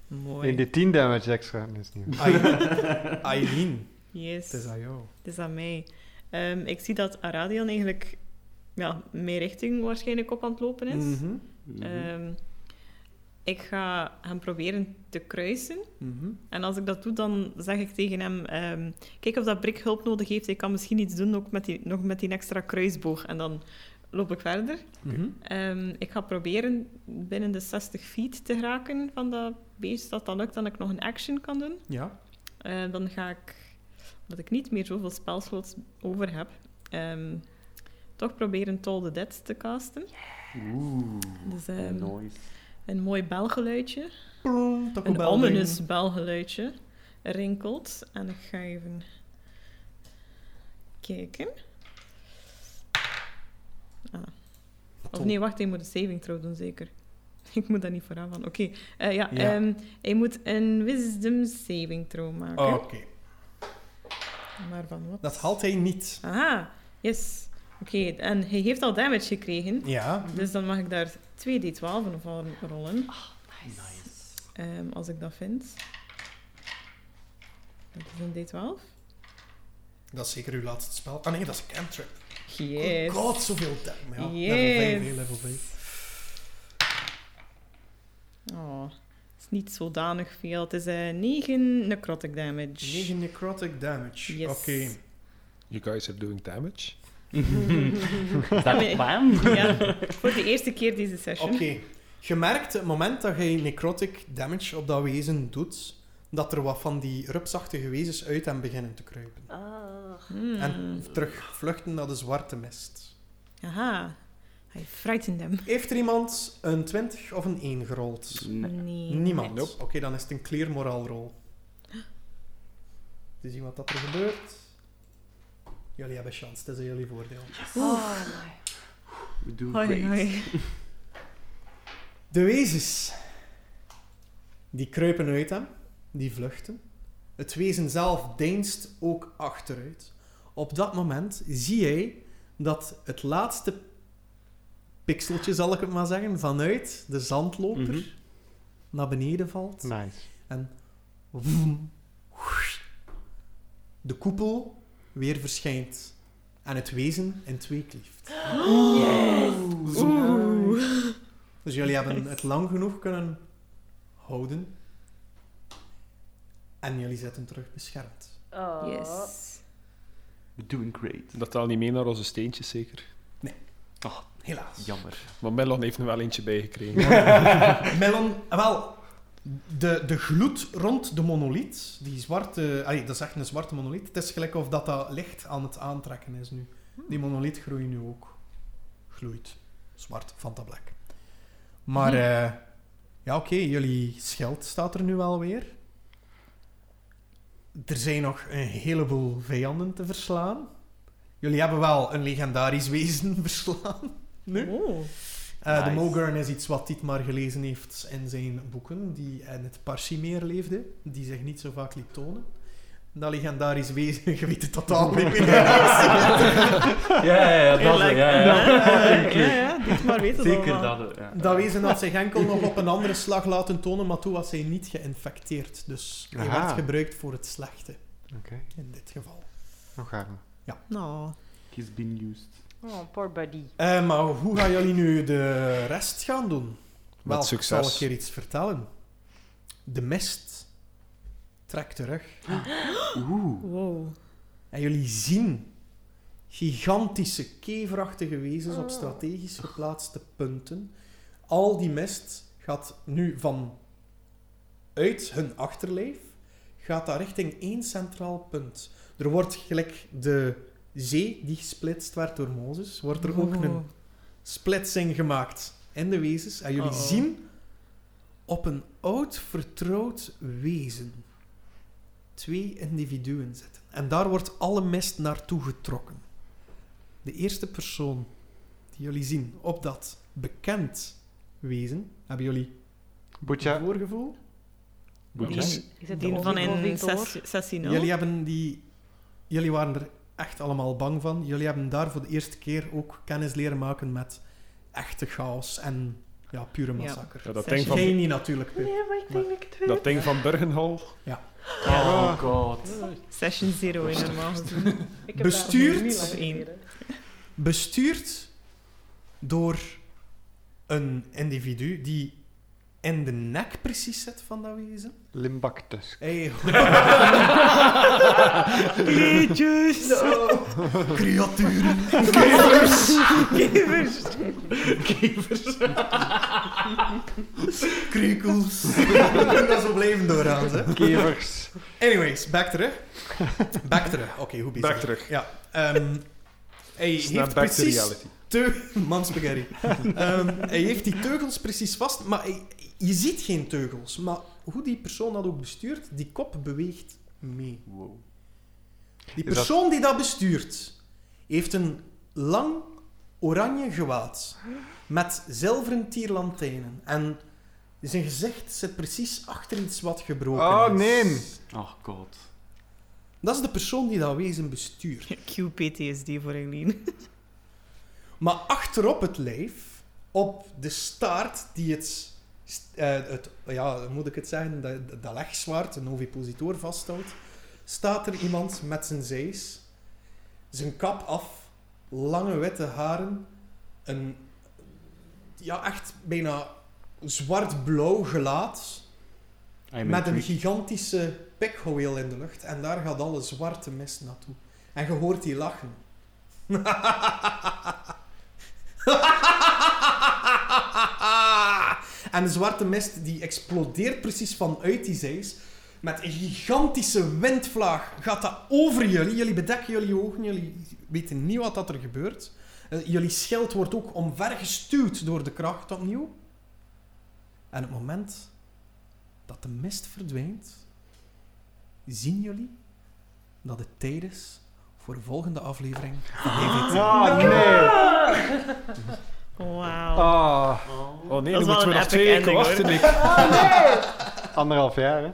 in mooi. die 10 damage extra. Dat is niet goed. Ai- Aileen, Yes, het is aan jou. het is aan mij. Ehm, ik zie dat Aradian eigenlijk ja, meer richting waarschijnlijk op aan het lopen is. Mhm, Ehm, ik ga hem proberen te kruisen. mhm. En als ik dat doe, dan zeg ik tegen hem... ehm, kijk of dat Brik hulp nodig heeft. Ik kan misschien iets doen, ook met die, nog met die extra kruisboog. En dan loop ik verder. Mhm. Ehm, ik ga proberen binnen de 60 feet te geraken van dat beest. Als dat lukt, dan ik nog een action kan doen. Ja. Eh, dan ga ik, omdat ik niet meer zoveel spelslots over heb, ehm, toch proberen Toll the Dead te casten. Oeh. Dus ehm, Nice. een mooi belgeluidje. Prum, Taco Een Bell ominous ding. belgeluidje rinkelt. En ik ga even kijken. Ah. Of Tom. nee, wacht, hij moet een saving throw doen, zeker. Ik moet daar niet vooraan van. Oké, eh, ja, Ja. ehm, hij moet een wisdom saving throw maken. Oh, Oké. Maar van wat? Dat haalt hij niet. Aha, yes. Oké, en hij heeft al damage gekregen. Ja. Dus dan mag ik daar 2d12 of al rollen. Nice. Ehm, als ik dat vind. Dat is een D12. Dat is zeker uw laatste spel. Ah nee, dat is een cantrip. Yes. Oh god, zoveel damage. Ja, level Yes. 5, hè, level 5. Oh, het is niet zodanig veel. Het is eh 9 necrotic damage. 9 necrotic damage. Yes. Oké. You guys are doing damage. Is dat Nee. een plan? Ja, voor de eerste keer deze session. Oké. Je merkt het moment dat je necrotic damage op dat wezen doet, dat er wat van die rupsachtige wezens uit hem beginnen te kruipen. Oh. Hmm. En terug vluchten naar de zwarte mist. Aha, hij frightened hem. Heeft er iemand een 20 of een 1 gerold? Nee. Niemand. Nope. Oké, dan is het een clear moraalrol. Dus zien wat dat er gebeurt. Jullie hebben chance, het is in jullie voordeel. Oh, nee. We Oh, doen Hoi, great. hoi. De wezens. Die kruipen uit hem. Die vluchten. Het wezen zelf deinst ook achteruit. Op dat moment zie jij dat het laatste pixeltje, zal ik het maar zeggen, vanuit de zandloper Mhm. naar beneden valt. Nice. En woem, woes. de koepel weer verschijnt. En het wezen in twee klieft. Dus jullie hebben het lang genoeg kunnen houden. En jullie zitten terug beschermd. Oh. Yes. We doing great. Dat taal niet mee naar onze steentjes, zeker. Helaas. Jammer. Maar Melon heeft er wel eentje bij gekregen. Melon, wel, de, de gloed rond de monolith, die zwarte, allee, dat is echt een zwarte monolith. Het is gelijk of dat, dat licht aan het aantrekken is nu. Die monolith groeit nu ook. Gloeit. Zwart, Fanta Black. Maar, eh, ja, oké, jullie scheld staat er nu alweer. Er zijn nog een heleboel vijanden te verslaan. Jullie hebben wel een legendarisch wezen verslaan. nu. Oh. Eh, De Nice. Mogurn is iets wat Dietmar gelezen heeft in zijn boeken, die in het Parsimeer leefde, die zich niet zo vaak liet tonen. Dat legendarisch wezen, je weet het totaal niet meer. Ja, ja, ja, dat Eerlijk. is ja, ja. Ja, Zeker. ja, ja, dit maar weet het Zeker allemaal. dat. eh, Ja. Dat wezen had zich enkel nog op een andere slag laten tonen, maar toen was hij niet geïnfecteerd. Dus hij Aha. werd gebruikt voor het slechte, Oké. in dit geval. Nog gaar. Nou, He's been used. Oh, poor buddy. Eh, maar hoe gaan jullie nu de rest gaan doen? Wel, Ik zal succes. een keer iets vertellen. De mist trekt terug. Oeh. wow. En jullie zien gigantische keverachtige wezens op strategisch geplaatste punten. Al die mist gaat nu van uit hun achterlijf, gaat dat richting één centraal punt. Er wordt gelijk de zee die gesplitst werd door Mozes, wordt er Oh. ook een splitsing gemaakt in de wezens. En jullie Uh-oh. zien op een oud vertrouwd wezen twee individuen zitten. En daar wordt alle mist naartoe getrokken. De eerste persoon die jullie zien op dat bekend wezen, hebben jullie Boetja. een voorgevoel? Boetjes. Is het Die de van in Ovico-Victor? Sassi- Sassino. Jullie, hebben die, jullie waren er echt allemaal bang van. Jullie hebben daar voor de eerste keer ook kennis leren maken met echte chaos en ja, pure Ja. massacre. Ja, dat, Zeg ding je- van, Geen niet natuurlijk, Pip. Nee, maar ik denk dat ik het weet. dat ding van Burgenhol. Oh god. Session zero in normaal gezien. Ik heb bestuurd? daar nog niet aan één. geleden. bestuurd door een individu die in de nek precies zit van dat wezen. Limbactus. Hey, Kleedjes! creaturen. Gevers! Kriekels. We kunnen dat zo blijven doorgaan, hè. Kevers. Anyways, back terug. Back terug. Oké, hoe bezig? Back terug. Ja. ehm, hij Snap heeft back to precies reality. te... Man spaghetti. Ehm, hij heeft die teugels precies vast, maar hij- je ziet geen teugels. Maar hoe die persoon dat ook bestuurt, die kop beweegt mee. Wow. Die Is dat- persoon die dat bestuurt, heeft een lang oranje gewaad met zilveren tierlantijnen. En zijn gezicht zit precies achter iets wat gebroken Oh, is. nee. Oh god. Dat is de persoon die dat wezen bestuurt. QPTSD voor Eileen. Maar achterop het lijf, op de staart die het, st- eh, het ja, hoe moet ik het zeggen, dat, dat legzwaard, een ovipositor vasthoudt, staat er iemand met zijn zeis, zijn kap af, lange witte haren, een, ja, echt bijna zwart-blauw gelaat, I'm met een intrigued. gigantische pikhoeel in de lucht. En daar gaat alle zwarte mist naartoe. En je hoort die lachen. en de zwarte mist die explodeert precies vanuit die zeis. Met een gigantische windvlaag gaat dat over jullie. Jullie bedekken jullie ogen. Jullie weten niet wat dat er gebeurt. Eh, jullie schild wordt ook omvergestuwd door de kracht opnieuw. En op het moment dat de mist verdwijnt, zien jullie dat het tijd is voor de volgende aflevering van EVT. Ah, nee. Wauw. Ah, Oh nee, Dat nu is wel moeten we nog een epic twee weken ending, hoor. wachten. Nick. anderhalf jaar, hè.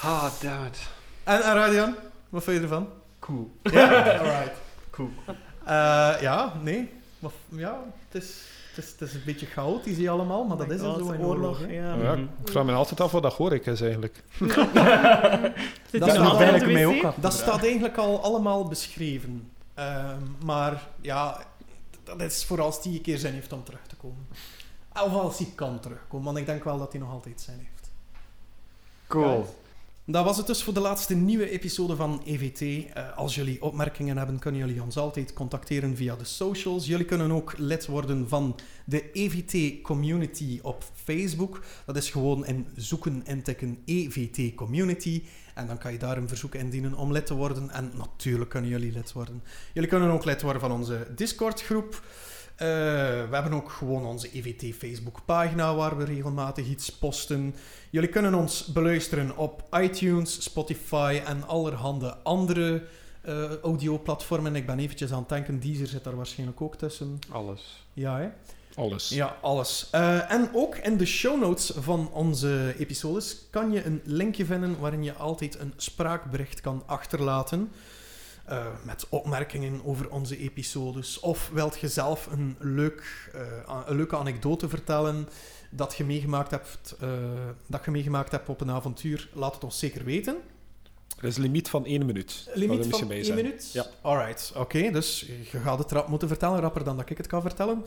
Ah, damn it. En, en Radian, wat vind je ervan? Cool. Ja, alright. Cool. Eh, ja, nee. Maar, f- ja, het is, het, is, het is een beetje chaotisch hier allemaal, maar dat is al een zo'n oorlog. hè. Ja. Ja, ik vraag me altijd af wat dat hoor ik is eigenlijk. Zit Dat hier is nog wel allemaal op eigenlijk de mij wc? ook af. Dat staat eigenlijk al allemaal beschreven. Ehm, maar ja, dat is voor als die een keer zin heeft om terug te komen. Of als hij kan terugkomen, want ik denk wel dat hij nog altijd zin heeft. Cool. Dat was het dus voor de laatste nieuwe episode van EVT. Eh, als jullie opmerkingen hebben, kunnen jullie ons altijd contacteren via de socials. Jullie kunnen ook lid worden van de EVT Community op Facebook. Dat is gewoon in zoeken en tikken EVT Community. En dan kan je daar een verzoek indienen om lid te worden. En natuurlijk kunnen jullie lid worden. Jullie kunnen ook lid worden van onze Discord-groep. Eh, we hebben ook gewoon onze EVT Facebook-pagina waar we regelmatig iets posten. Jullie kunnen ons beluisteren op iTunes, Spotify en allerhande andere eh audioplatformen. Ik ben eventjes aan het denken, Deezer zit daar waarschijnlijk ook tussen. Alles. Ja, hè? Alles. Ja, alles. Eh, en ook in de show notes van onze episodes kan je een linkje vinden waarin je altijd een spraakbericht kan achterlaten. eh, met opmerkingen over onze episodes. Of wilt je zelf een, leuk, eh, a- een leuke anekdote vertellen dat je, meegemaakt hebt, eh, dat je meegemaakt hebt op een avontuur? Laat het ons zeker weten. Er is een limiet van één minuut. Waar we Limiet misschien van bij één zijn. minuut? Ja. Alright, oké. dus je gaat het rap moeten vertellen, rapper dan dat ik het kan vertellen.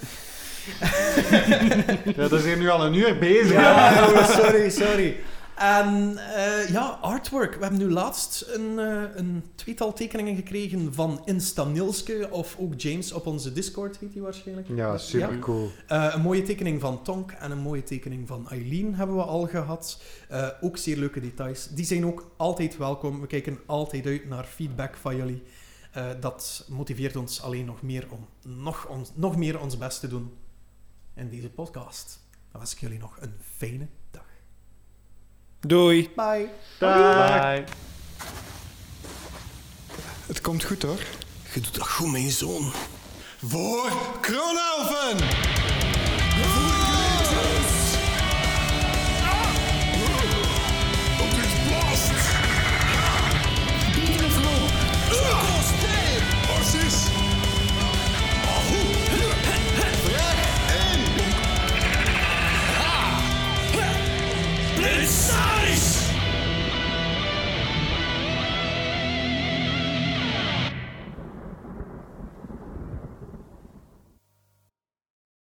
Ja, dat is hier nu al een uur bezig. Ja, oh, sorry, sorry. En eh, ja, artwork. We hebben nu laatst een, eh, een tweetal tekeningen gekregen van Insta Nilske of ook James op onze Discord, heet die waarschijnlijk. Ja, super cool. Eh, een mooie tekening van Tonk en een mooie tekening van Eileen hebben we al gehad. Eh, ook zeer leuke details. Die zijn ook altijd welkom. We kijken altijd uit naar feedback van jullie. Eh, dat motiveert ons alleen nog meer om nog, ons, nog meer ons best te doen in deze podcast. Dan wens ik jullie nog een fijne dag. Doei. Bye! Bye. Het komt goed hoor. Je doet dat goed, mijn zoon. Voor Kronalven! Blitz size!